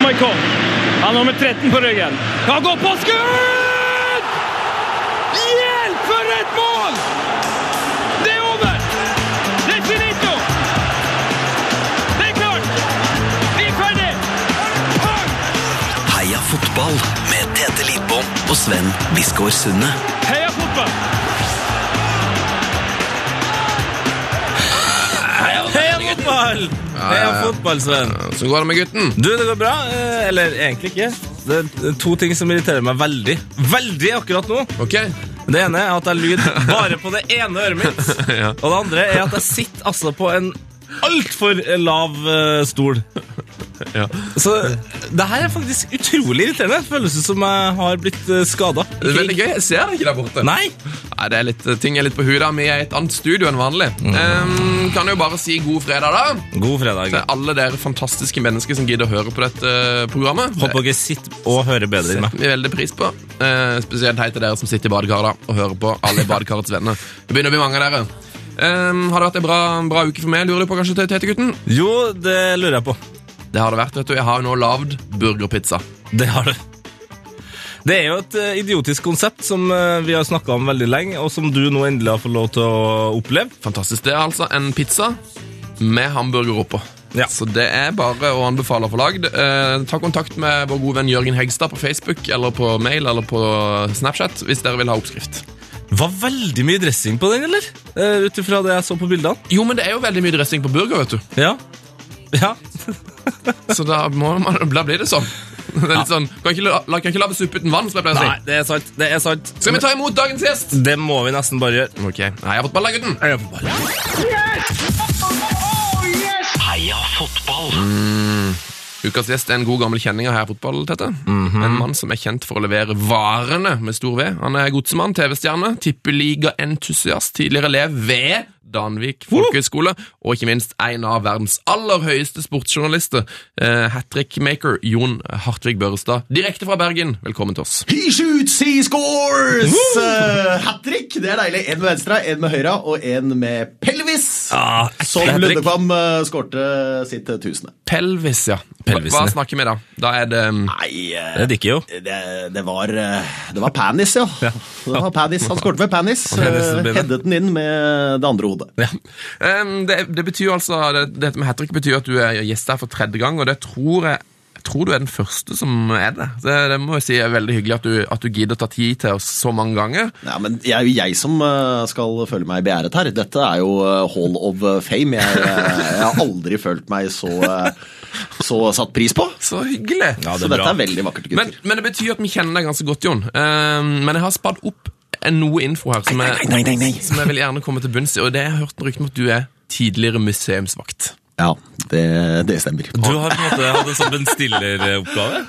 Michael. Han har nummer 13 på ryggen. Han går på skudd! Hjelp, for et mål! Det er over! Det er finito! Det er klart! Vi er ferdig! Heia fotball med Tete Lidbom og Sven Biskår Sunde. Heia fotball! Heia fotball! Heia fotball, Sven. Så går det med gutten. Du, det går bra. Eh, Eller egentlig ikke. Det er to ting som irriterer meg veldig. Veldig akkurat nå. Ok? Det ene er at det er lyd bare på det ene øret mitt. Ja. Og det andre er at jeg sitter altså på en altfor lav eh, stol. Ja. Så det her er faktisk utrolig irriterende. Føles ut som jeg har blitt skada. Det er veldig gøy. Jeg ser deg ikke der borte. Nei! Nei, det er litt, eh, ting er litt på huet. da. Vi er i et annet studio enn vanlig. Ehm, kan jo bare si god fredag, da. God fredag. Til alle dere fantastiske mennesker som gidder å høre på dette eh, programmet. Håper dere sitter og hører bedre enn meg. setter vi veldig pris på. Eh, spesielt hei til dere som sitter i badekar da, og hører på alle i badekarets venner. Det begynner å bli mange av dere. Eh, har det vært en bra, bra uke for meg, lurer du på kanskje, Tete-gutten? Jo, det lurer jeg på. Det har det vært, vet du. Jeg har jo nå lagd burgerpizza. Det har du. Det er jo et eh, idiotisk konsept som eh, vi har snakka om veldig lenge, og som du nå endelig har fått lov til å oppleve. Fantastisk. Det er altså en pizza med hamburger oppå. Ja. Så det er bare å anbefale å få lagd. Eh, ta kontakt med vår gode venn Jørgen Hegstad på Facebook eller på mail eller på Snapchat hvis dere vil ha oppskrift. Var veldig mye dressing på den, eller? Uh, Ut ifra det jeg så på bildene. Jo, men det er jo veldig mye dressing på burger, vet du. Ja. Ja. Så da, må man, da blir det sånn. Det er litt sånn kan ikke, la- kan ikke lage suppe uten vann, som jeg pleier å Nei, si. det er sant. Det er sant. Skal vi ta imot dagens gjest? Det må vi nesten bare gjøre. Ok, Nei, jeg har fått balla, gutten. Heia fotball! Mm. Ukas gjest er en god gammel kjenning av her fotball, Tette. En mann som er kjent for å levere varene med stor V. Han er godsemann, TV-stjerne, tippeligaentusiast, tidligere elev ved Danvik folkehøgskole, og ikke minst en av verdens aller høyeste sportsjournalister, eh, hat trick-maker Jon Hartvig Børrestad, direkte fra Bergen. Velkommen til oss. He shoots, he scores! Uh, Hat trick, det er deilig. En med venstre, en med høyre og en med pelvis. Ah, ekte som hat-trick. Lundekvam uh, skårte sitt eh, tusende. Pelvis, ja. Hva, Pelvisen, hva ja. snakker vi da? Da er det mm, Nei, eh, Det dikker jo. det, det var eh, Det var panis, ja. Det var panis. Han skårte med panis. hendelsen ble det. Heddet den inn med det andre hodet. Um, det, det betyr jo altså det, Dette med hat trick betyr at du er gjest her for tredje gang, og det tror jeg jeg tror du er den første som er det. Det, det må jeg si er veldig hyggelig at du, at du gidder å ta tid til oss så mange ganger. Ja, men det er jo jeg som eh, skal føle meg beæret her. Dette er jo eh, hall of fame. Jeg, eh, jeg har aldri følt meg så, eh, så satt pris på. Så hyggelig! Ja, det Så er dette bra. er veldig vakkert, gutter. men, men det betyr at vi kjenner deg ganske godt, Jon. Um, men jeg har spadd opp en- noe info her som jeg, som jeg vil gjerne komme til bunns i, og det har jeg hørt rykte om at du er tidligere museumsvakt. Ja, det, det stemmer. Du har på en måte hatt en sånn bestilleroppgave.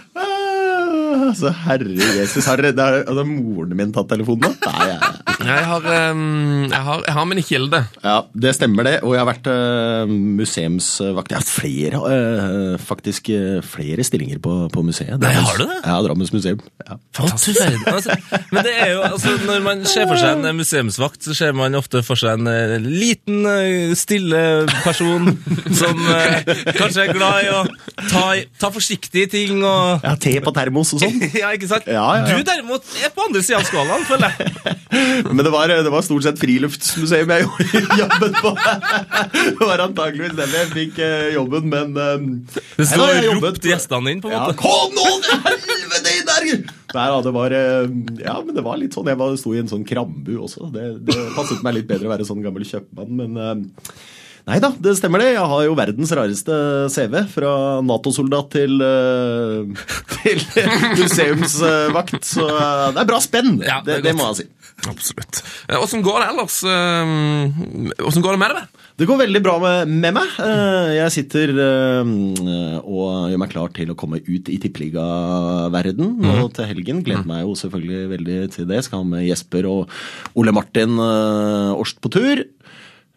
Altså, herre Jesus, har dere- det er- hadde moren min tatt telefonen da? Nei, jeg, Jeg har, um, jeg har, jeg har min kilde. ja, det stemmer det, og jeg har vært eh, museumsvakt. Jeg har hatt flere, eh, faktisk eh, flere stillinger på, på museet. Nei, har du det? Ja, Drammens museum. Ja. Fantastisk. Altså, men det er jo, altså, når man ser for seg en eh, museumsvakt, så ser man ofte for seg en eh, liten, eh, stille person som eh, kanskje er glad i å ta, ta forsiktige ting og Ja, te på termos og sånn. ja, ikke sant? Ja, ja, ja. Du derimot er på andre sida av skalaen, føler jeg. Men det var, det var stort sett friluftsmuseum jeg gjorde jobben på. Det var antakeligvis dem jeg fikk eh, jobben, men eh, Det nei, står jeg jobbet- ropt gjestene inn, på en Ja, måte. kom nå, det er helvete inn der! Nei da, det var eh, Ja, men det var litt sånn. Jeg var, sto i en sånn krambu også. Det, det passet meg litt bedre å være sånn gammel kjøpmann, men eh, Nei da, det stemmer det. Jeg har jo verdens rareste CV. Fra Nato-soldat til, eh, til museumsvakt. Så eh, det er bra spenn. Ja, det, det er det godt. må jeg si. Absolutt. Eh, Åssen går det ellers? eh, Åssen går det med deg? Det går veldig bra med, med meg. Eh, Jeg sitter eh, og gjør meg klar til å komme ut i tippeligaverden nå til helgen. Gleder meg jo selvfølgelig veldig til det. Skal ha med Jesper og Ole Martin eh, Årst på tur.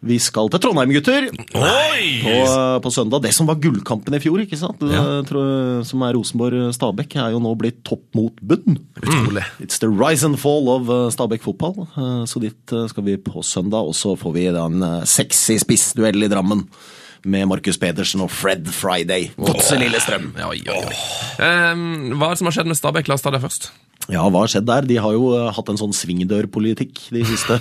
Vi skal til Trondheim, gutter, på, Oi! på søndag. Det som var gullkampen i fjor, ikke sant? Det tror jeg- som er Rosenborg-Stabæk, er jo nå blitt topp mot bunn. Utrolig. It's the rise and fall of eh, Stabæk fotball. Eh, Så dit eh, skal vi på søndag, og så får vi da en eh, sexy spissduell i Drammen. med Markus Pedersen og Fred Friday. Godse Lillestrøm! Ja, oi, oi, oi. Ehm, hva er det som har skjedd med Stabæk? La oss ta det først. Ja, hva har skjedd der? De har jo eh, hatt en sånn svingdørpolitikk de siste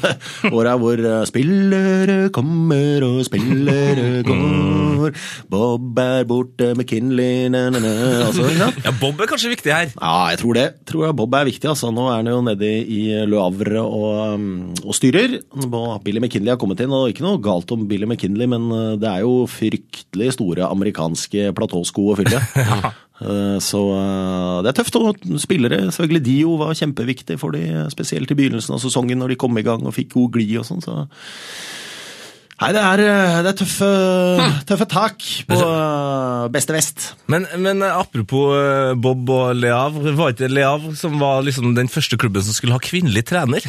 åra, hvor eh, spillere kommer og spillere går, Bob er borte, McKinley na-na-na altså, ja. Ja, Bob er kanskje viktig her. ja, jeg tror det. Tror jeg Bob er viktig, altså. Nå er han jo nede i Le Havre og, um, og styrer. Og Billy McKinley har kommet inn, og ikke noe galt om Billy McKinley, men eh, det er jo fryktelig store amerikanske platåsko å fylle. Eh, Så eh, det er tøft. Og spillere, selvfølgelig Dio var kjempeviktig for de, eh, spesielt i begynnelsen av sesongen når de kom i gang og fikk god glid og sånn. så... Nei, det er, eh, det er tøffe, tøffe tak på eh, beste vest. Men, men eh, apropos eh, Bob og Le Havre, var ikke Le Havre som var liksom den første klubben som skulle ha kvinnelig trener?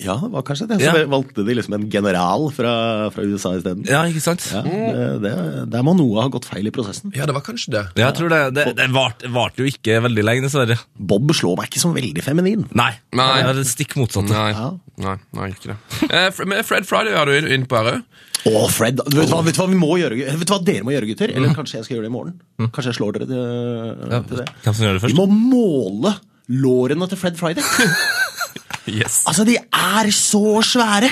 Ja, det var kanskje det. Så Ja. det- valgte de liksom en general fra, fra USA isteden. Ja, ikke sant? Ja, det, det, der må noe ha gått feil i prosessen. Ja, det var kanskje det. Ja, jeg tror det. Det, det varte varte jo ikke veldig lenge, dessverre. Bob slår meg ikke som veldig feminin. Nei. Nei. Det er det stikk motsatte. Nei, Ja. nei, nei ikke det. Eh, Fre- men Fred Friday har du inn- inn på her òg. Å, Fred, du vet, hva, vet du hva vi må gjøre? gu- Vet du hva dere må gjøre, gutter? Mm. Eller kanskje jeg skal gjøre det i morgen? Kanskje jeg slår dere til, til det? Hvem som gjør det Vi først? må måle lårene til Fred Friday. Yes. Altså, de er så svære!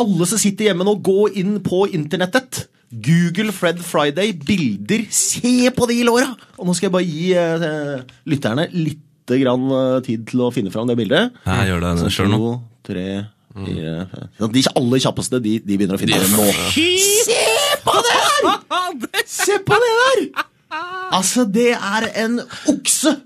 Alle som sitter hjemme nå, gå inn på internettet. Google Fred Friday, bilder. Se på de låra! Og nå skal jeg bare gi eh, lytterne litt grann, eh, tid til å finne fram det bildet. Jeg gjør det Sånn selv nå. To, tre, fire fem. Sånn, De aller kjappeste, de, de begynner å finne det nå. Se på det der! Se på det der! Altså, det er en okse!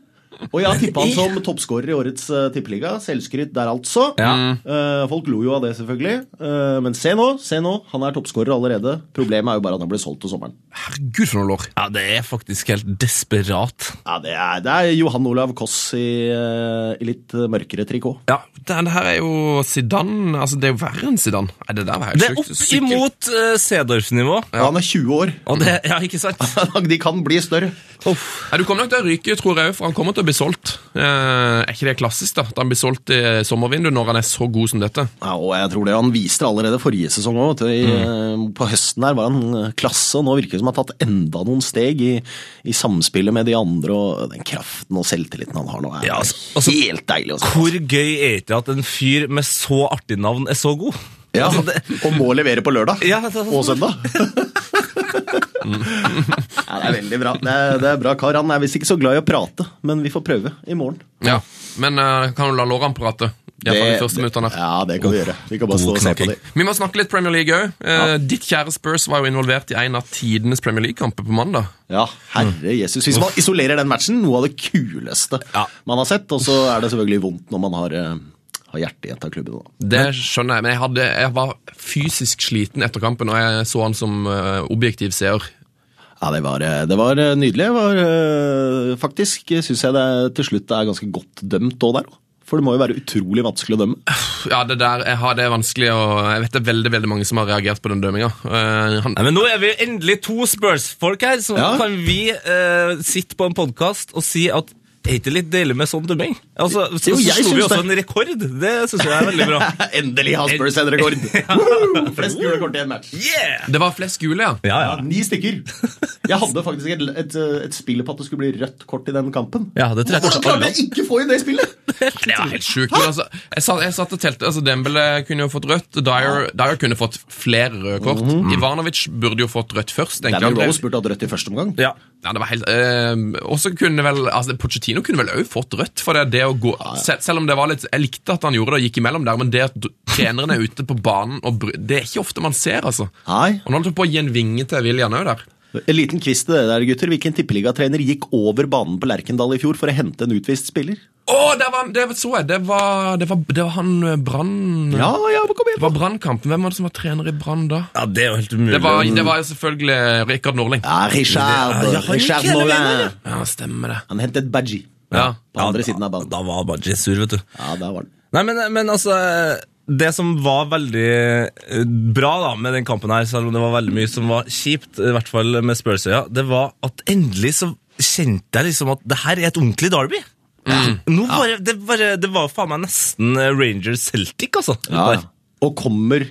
Og jeg har tippa han som toppskårer i årets uh, tippeliga. Selvskryt der, altså. Ja. Eh, folk lo jo av det, selvfølgelig. Eh, men se nå, se nå. Han er toppskårer allerede. Problemet er jo bare at han ble solgt til sommeren. Herregud, for noen lår. Ja, det er faktisk helt desperat. Ja, Det er, det er Johan Olav Koss i, eh, i litt eh, mørkere trikot. Ja, det, det her er jo Zidane altså, Det er jo verre enn Zidane. Nei, det der var helt Det er sjukt. opp Sykkel- imot uh, Sedorf-nivå. Han er 20 år. Og det, ja, ikke sant? De kan bli større. Nei, Du kommer nok til å ryke, tror jeg, for han kommer til å bli solgt. Eh, er ikke det klassisk, da? At han blir solgt i sommervinduet når han er så god som dette? Ja, og jeg tror det Han viste det allerede forrige sesong òg. Mm. eh, På høsten der var han eh, klasse, og nå virker det som han har tatt enda noen steg i, i samspillet med de andre. Og den kraften og selvtilliten han har nå, er Ja, altså- altså- helt deilig å se. Hvor gøy er ikke at en fyr med så artig navn er så god? Ja, Altså, det, og må levere på lørdag Ja, altså, Mm. det- og søndag. ja, det er veldig bra. Det er, det er bra kar. Han er visst ikke så glad i å prate, men vi får prøve i morgen. Ja. Men eh, kan du la lårene prate? I hvert fall de første minuttene. ja, det Oh, kan vi gjøre. Vi kan bare stå og se på knakking. det. Vi må snakke litt Premier League òg. Ditt kjære Spurs var jo involvert i en av tidenes Premier League-kamper på mandag. Ja, herre Jesus. Hvis man isolerer den matchen, noe av det kuleste Ja. man har sett. Og så er det selvfølgelig vondt når man har, eh, har hjertet i et av klubbene. da. Det skjønner jeg, men jeg, hadde, jeg var fysisk sliten etter kampen, og jeg så han som eh, objektiv seer. Ja, det var, eh, det var eh, nydelig. Det var, eh, faktisk syns jeg det til slutt er ganske godt dømt òg der. For det må jo være utrolig vanskelig å dømme. Ja, det der jeg har, det er vanskelig, og jeg vet det er veldig veldig mange som har reagert på den dømminga. Eh, han- Nei, men nå er vi endelig to Spurs-folk her, så Ja. kan vi eh, sitte på en podkast og si at er ikke det litt deilig med sånn dømming? Altså, så, Jo, så jeg slo vi syns også det. en rekord. Det syns jeg er veldig bra. Endelig har Spurs en rekord! Woo! Flest gule kort i en match. Yeah! Det var flest gule, ja. Ja, Ja, ja. Ni stykker. Jeg hadde faktisk et, et, eh, et spill på at det skulle bli rødt kort i den kampen. Ja, det tror jeg Hvordan kanskje alle- klarte jeg ikke få inn det spillet?! Det var helt sjukt. Men altså, jeg, satt, jeg satt og telte. altså Dembele kunne jo fått rødt. Dyer, Dyer kunne fått flere røde kort. Ivanovic burde jo fått rødt først. egentlig. Danny Han ble- Rose burde hatt rødt i første omgang. ja. Ja, det var helt eh, Også kunne vel altså, Pochettino kunne vel også fått rødt for det, det å gå sel Selv om det var litt Jeg likte at han gjorde det og gikk imellom der, men det at d- treneren er ute på banen og bry, Det er ikke ofte man ser, altså. Nei. Og nå holdt han på å gi en vinge til William òg der. En liten quiz til dere der, gutter. Hvilken tippeligatrener gikk over banen på Lerkendal i fjor for å hente en utvist spiller? Å, der var han- det så jeg! Det var, det var, det var han eh, Brann Ja, ja, kom Det igjen! var Brannkampen. Hvem var det som var trener i Brann da? ja, det er jo helt umulig. Det var, det var jo selvfølgelig Rikard Norling. Ja, Richard, Ja, ja, han Richard gikk hele veien, Moulin. Ja, stemmer det. Han hentet Badgie Ja. på andre Ja, siden av banen. Da var Badji sur, vet du. Ja, der var den. Nei, men, men altså Det som var veldig eh, bra da med den kampen her, selv om det var veldig mye som var kjipt, i hvert fall med Spursøya, det var at endelig så kjente jeg liksom at det her er et ordentlig Derby. Nå bare, det, bare, det var faen meg nesten eh, Rangers Celtic, altså. Ja. Og kommer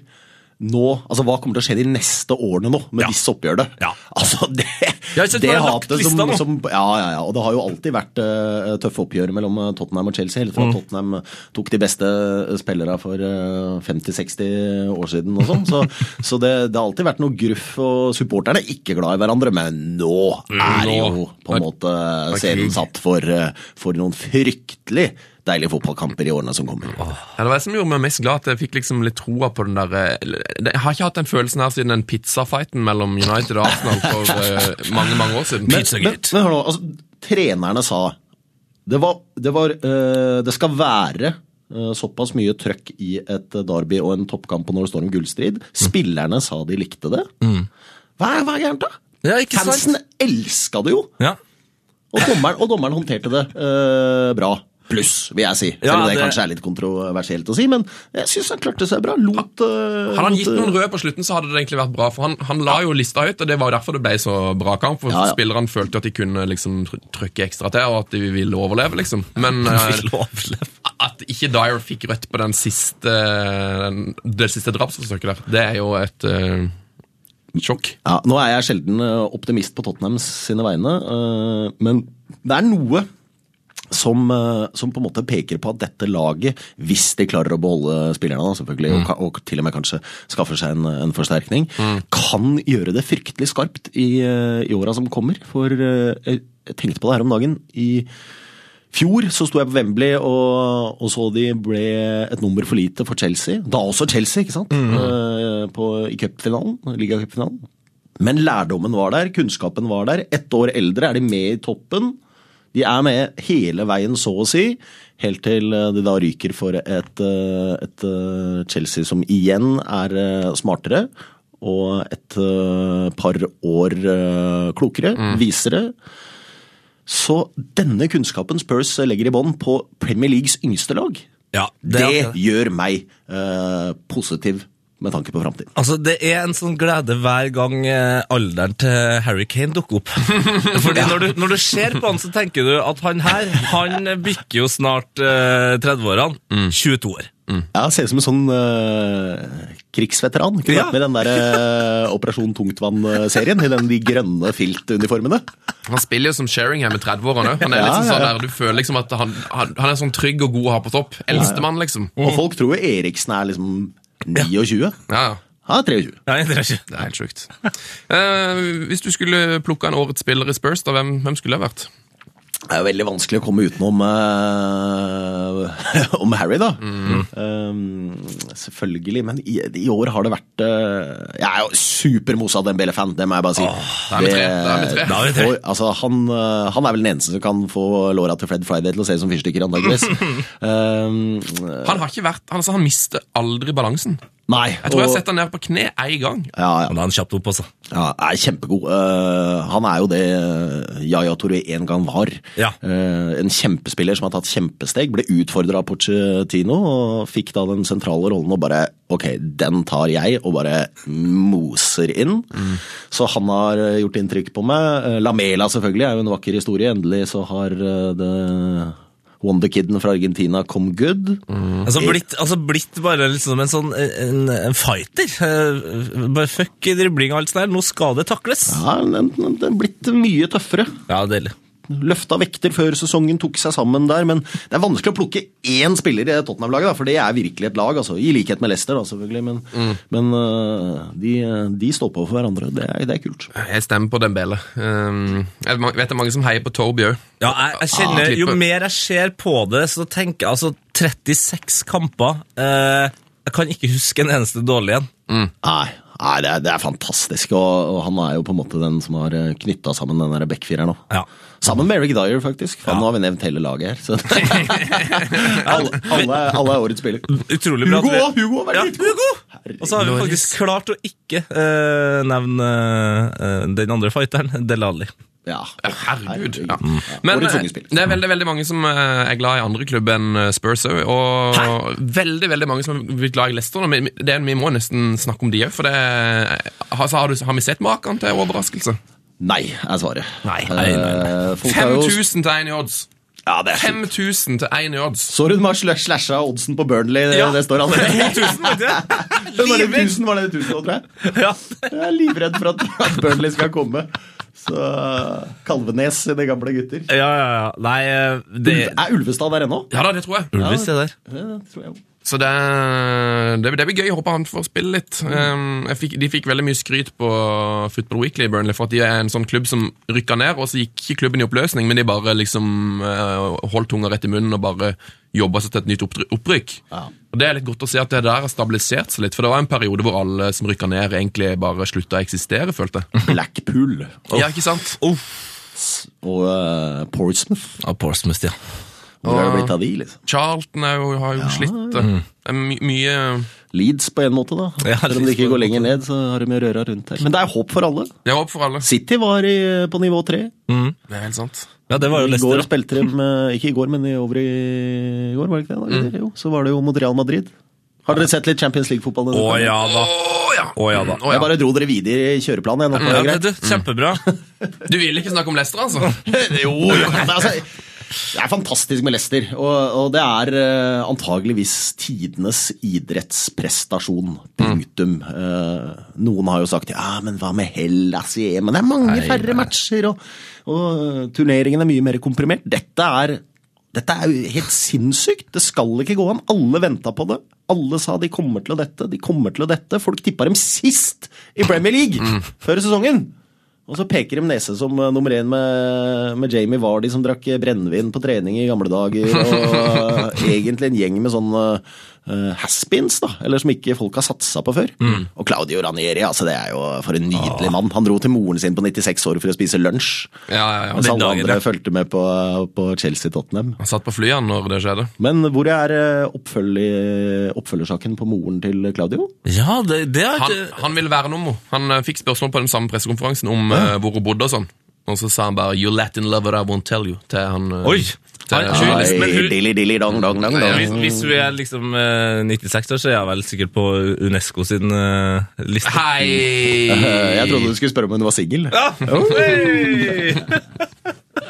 nå, altså Hva kommer til å skje de neste årene nå med Ja. disse oppgjørene? Ja. Altså, det, Ja, jeg synes det man har lagt hatet lista som, nå. som Ja, ja, ja. Og det har jo alltid vært eh, tøffe oppgjør mellom eh, Tottenham og Chelsea. Helt Mm. fra Tottenham tok de beste spillerne for eh, 50-60 år siden og sånn. Så, så det, det har alltid vært noe gruff, og supporterne er ikke glad i hverandre. Men nå Mm, er Nå. jo på en måte scenen satt for, eh, for noen fryktelig deilige fotballkamper i årene som kommer. Ja, det var det som gjorde meg mest glad, at jeg fikk liksom litt troa på den der eh, eller, Jeg har ikke hatt den følelsen her siden den pizzafighten mellom United og Arsenal for eh, mange mange år siden. Men, men hør nå, altså, trenerne sa det, var, det, var, eh, det skal være eh, såpass mye trøkk i et eh, derby og en toppkamp og når det står en gullstrid. Spillerne sa de likte det. Hva, er, hva er gærent, da? Mm. Ja, ikke sant? Fansen elska det jo, Ja. og dommeren, og dommeren håndterte det eh, bra. Pluss, vil jeg si. Selv om Ja, det, det- kanskje er litt kontroversielt å si, men jeg syns han klarte seg bra. Lot eh, Hadde han gitt lot, eh, noen røde på slutten, så hadde det egentlig vært bra. For han, han la jo lista høyt, og det var jo derfor det ble så bra kamp. For Ja, ja. spillerne følte at de kunne liksom tr- trykke ekstra til, og at de ville overleve, liksom. Men eh, at ikke Dyer fikk rødt på den siste, den, det siste drapsforsøket der, det er jo et eh, sjokk. Ja, nå er jeg sjelden eh, optimist på Tottenham sine vegne, eh, men det er noe som, eh, som på en måte peker på at dette laget, hvis de klarer å beholde spillerne, da, selvfølgelig, og, ka- og til og med kanskje skaffer seg en, en forsterkning, kan gjøre det fryktelig skarpt i, eh, i åra som kommer. For eh, jeg jeg tenkte på det her om dagen. i fjor så sto jeg på Wembley og, og så de ble et nummer for lite for Chelsea. Da også Chelsea, ikke sant? Eh, På, I cupfinalen, ligacupfinalen. Men lærdommen var der, kunnskapen var der. Ett år eldre er de med i toppen. De er med hele veien, så å si, helt til eh, de da ryker for et, eh, et eh, Chelsea som igjen er eh, smartere, og et eh, par år eh, klokere, visere. Så denne kunnskapen Spurs legger i bånn på Premier Leagues yngste lag, Ja, det, det, gjør meg eh, positiv med tanke på framtiden. altså, det er en sånn glede hver gang eh, alderen til Harry Kane dukker opp. Fordi når du, når du ser på han, så tenker du at han her han bikker jo snart eh, 30-årene. 22 år. Ja, ser ut som en sånn eh, krigsveteran. Kunne Ja. vært med i den der eh, Operasjon Tungtvann-serien, i den de grønne filtuniformene. Han spiller jo som Sheringham i 30-årene òg. Han er Ja, liksom ja, sånn ja. der, du føler liksom at han, han, han er sånn trygg og god å ha på topp. Eldstemann, liksom. Og folk tror jo Eriksen er liksom 29. Ja, ja. Han er 23. Nei, det er ikke. Det er helt sjukt. Eh, hvis du skulle plukka en årets spiller i Spurs, da, hvem, hvem skulle det vært? Det er jo veldig vanskelig å komme utenom eh, om Harry, da. Mm. Eh, selvfølgelig. Men i, i år har det vært eh, Jeg er jo super Moussa Dembele-fan, det må jeg bare si. da er vi tre, da er vi tre. Da er vi tre. Og, altså, han, eh, han er vel den eneste som kan få låra til Fred Friday til å se ut som fyrstikker, antakeligvis. Eh, Han har ikke vært, han, altså, han mister aldri balansen. nei. Jeg tror jeg og- har sett han ned på kne én gang. ja, ja. Men da er han kjapt opp, altså. Ja, er kjempegod. Eh, han er jo det eh, Yaya Toré en gang var. Ja. Eh, en kjempespiller som har tatt kjempesteg. Ble utfordra av Pochettino og fikk da den sentrale rollen og bare Ok, den tar jeg, og bare moser inn. Så han har eh, gjort inntrykk på meg. Eh, Lamela selvfølgelig er jo en vakker historie. Endelig så har eh, det Wonderkiden fra Argentina come good. Altså blitt, altså blitt bare liksom en sånn en, en fighter. Eh, Bare fuck i dribling og alt sånt der. Nå skal det takles. Ja, den, den, den er blitt mye tøffere. Ja, deilig. løfta vekter før sesongen tok seg sammen der, men det er vanskelig å plukke én spiller i Tottenham-laget, da, for det er virkelig et lag, altså, i likhet med Leicester, da, selvfølgelig, men, men øh, de, de står på for hverandre. Det er, det er kult. Jeg stemmer på Dembele. Um, jeg vet det er mange som heier på Torby òg. Ja, jeg, jeg kjenner, Ah, Jo klippet. mer jeg ser på det, så tenker jeg altså 36 kamper eh, Jeg kan ikke huske en eneste dårlig en. Nei, nei det, er, det er fantastisk, og, og han er jo på en måte den som har knytta sammen den der backfireren nå. Ja. Sammen med Eric Dyer, faktisk. Faen, Nå har vi nevnt hele laget her. Så. alle, alle, er- alle er årets spiller. Utrolig bra. at Hugo vi- også, Hugo har vært ja, litt god. Hugo! Herregud. Og så har vi faktisk klart å ikke eh, nevne eh, den andre fighteren, Delali. Ja. Herregud. Ja. Mm. Men årets eh, unge spiller. det er veldig veldig mange som eh, er glad i andre klubb enn eh, Spurs òg. Og veldig veldig mange som er blitt glad i Leicester. nå, men det er- Vi må nesten snakke om de òg, for det er- altså, har, du, har vi sett maken til overraskelse? Nei, er svaret. Nei, nei, nei, nei. Eh, folk har jo- 5000 til én i odds! Ja, det er sjukt. 5000 til 1 i odds. Så hun har sl- slasha oddsen på Burnley, det, Ja. det står allerede. 1000, vet du? Det var det 1000, var det 1000 nå, tror jeg? Ja. Jeg er livredd for at, at Burnley skal komme. Så Kalvenes, sine gamle gutter. ja, ja, ja. Nei, eh, det Ulv- Er Ulvestad der ennå? Ja da, det tror jeg. Ulvis er der. Ja, det tror jeg jo. Så det, det, det blir gøy. Jeg håper han får spille litt. Um, jeg fikk, de fikk veldig mye skryt på Football Weekly i Burnley for at de er en sånn klubb som rykka ned, og så gikk ikke klubben i oppløsning, men de bare liksom eh, holdt tunga rett i munnen og bare jobba seg til et nytt oppdry- opprykk. Ja. Og Det er litt godt å se at det der har stabilisert seg litt, for det var en periode hvor alle som rykka ned, egentlig bare slutta å eksistere, følte jeg. Blackpool Ja, ikke sant? og eh, Portsmouth. Ja, Portsmouth, ja. Hvor er det blitt av de, liksom? Charlton er jo, har jo slitt. det. Det er My, mye Leeds på en måte, da. Ja, Selv om de Leeds ikke på en går lenger ned, så har de jo røra rundt her. Men det er håp for alle. Det er håp for alle. City var i, på nivå tre. Det er helt sant. Ja, det var I jo går Leicester. da. spilte de med- Ikke i går, men i over i går, var det ikke det? da? Mm. Eller, Jo, så var det jo mot Real Madrid. Har dere sett litt Champions League-fotball? denne Å uka? ja da. Å ja! Å ja da. Å, Jeg ja. bare dro dere videre i kjøreplanen. Jeg, nå, for det Ja, er det, greit. det, kjempebra. Du vil ikke snakke om Leicester, altså? jo, jo. men Altså, det er fantastisk med Leicester, og, og det er eh, antageligvis tidenes idrettsprestasjon. Punktum. Mm. Eh, noen har jo sagt ja, men hva med Hellas i EM? Men det er mange færre matcher, og, og turneringen er mye mer komprimert. Dette er dette er jo helt sinnssykt. Det skal ikke gå an. Alle venta på det. Alle sa de kommer til å dette, de kommer til å dette. Folk tippa dem sist i Premier League før sesongen. Og så peker de nese som eh, nummer én med, med Jamie Vardy som drakk eh, brennevin på trening i gamle dager. Og eh, egentlig en gjeng med sånn uh, haspins, da. Eller som ikke folk har satsa på før. Mm. Og Claudio Ranieri, altså det er jo for en Ah. nydelig mann. Han dro til moren sin på 96 år for å spise lunsj. Ja, ja, ja. Mens alle dagen, andre fulgte med på, på Chelsea-Tottenham. Han satt på flyet når det skjedde. Men hvor er eh, oppfølger, oppfølgersaken på moren til Claudio? Ja, det, det er Han, ikke han ville verne om henne. Han eh, fikk spørsmål på den samme pressekonferansen om eh, hvor hun bodde og sånn. Og så sa han bare 'You Latin lover, I won't tell you' til han eh, Oi! Til, Han- Sju, liksom, men hun- dilly, dilly, dong, dong, dong, Ja, Hvis, hvis vi er liksom eh, 96 år, så er jeg vel sikkert på UNESCO sin eh, liste. Eh, Jeg Hei! trodde du skulle spørre om hun var singel. Ja. Oi!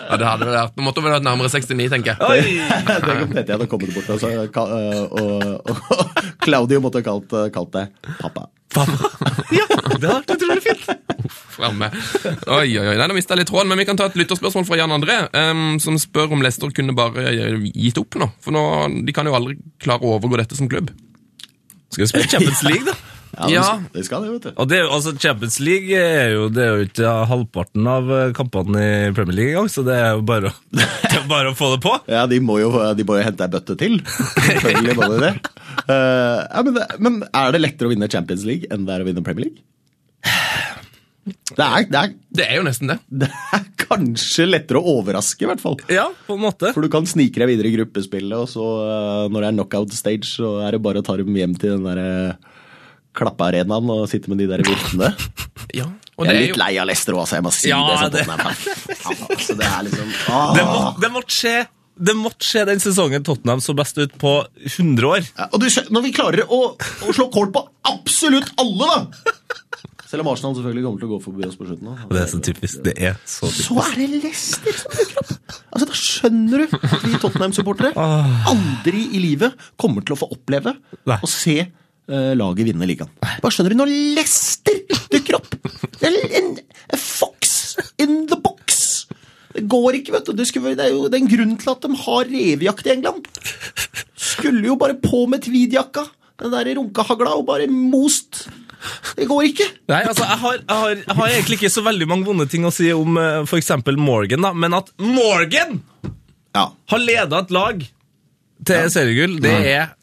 Ja, det hadde det vært. Nå måtte hun vært nærmere 69, tenker jeg. Oi! Tenk om Petter hadde kommet bort og, så, ka- eh, og, og Claudio måtte ha kalt, kalt deg pappa. Ja, det hadde vært utrolig fint. Framme. Oi, oi, oi. Nei, da mistet jeg litt tråden, men vi kan ta et lytterspørsmål fra Jan André, em, som spør om Leicester kunne bare eh, gitt opp nå. For nå, de kan jo aldri klare å overgå dette som klubb. Skal vi spille Champions League, da? det- Ja. Det skal det, vet du. Og det, er jo- altså, Champions League er jo, det er jo ikke halvparten av eh, kampene i Premier League engang, så det er jo bare å, det er bare å få det på. Ja, de må jo, de må jo hente ei bøtte til. Selvfølgelig må de det. Eh, ja, men, det- men er det lettere å vinne Champions League enn det er å vinne Premier League? Det er, det er, Det er jo nesten det. det er kanskje lettere å overraske, i hvert fall. Ja, på en måte. For du kan snike deg videre i gruppespillet, og så eh, når det er knockout stage, så er det bare å ta dem hjem til den der eh, klappearenaen og sitte med de der viltene. Ja, og Jeg det er er litt jo lei av Lester òg, så jeg må si Ja, det. som det- Tottenham-fan. Ja, altså, det er liksom ah. Det måtte, det måtte skje. Det måtte skje den sesongen Tottenham så best ut på 100 år. Ja, Og du skjønner, når vi klarer å, å slå kål på absolutt alle, da! Selv om Arsenal selvfølgelig kommer til å gå forbi oss på slutten. da. Det er så typisk. Det er så typisk. Så er det Leicester som dukker opp! Altså, Da skjønner du at vi Tottenham-supportere aldri i livet kommer til å få oppleve Nei. å se eh, laget vinne ligaen. Bare skjønner du når Leicester dukker opp! Det er en, en fox in the box! Det går ikke, vet du. du skulle, det er jo det er en grunn til at de har revejakt i England. Skulle jo bare på med tweedjakka, den der runkehagla, og bare most. Det går ikke. Nei, altså, jeg har, jeg, har, jeg har egentlig ikke så veldig mange vonde ting å si om eh, for eksempel Morgan, da, men at Morgan Ja. har leda et lag til seriegull, det er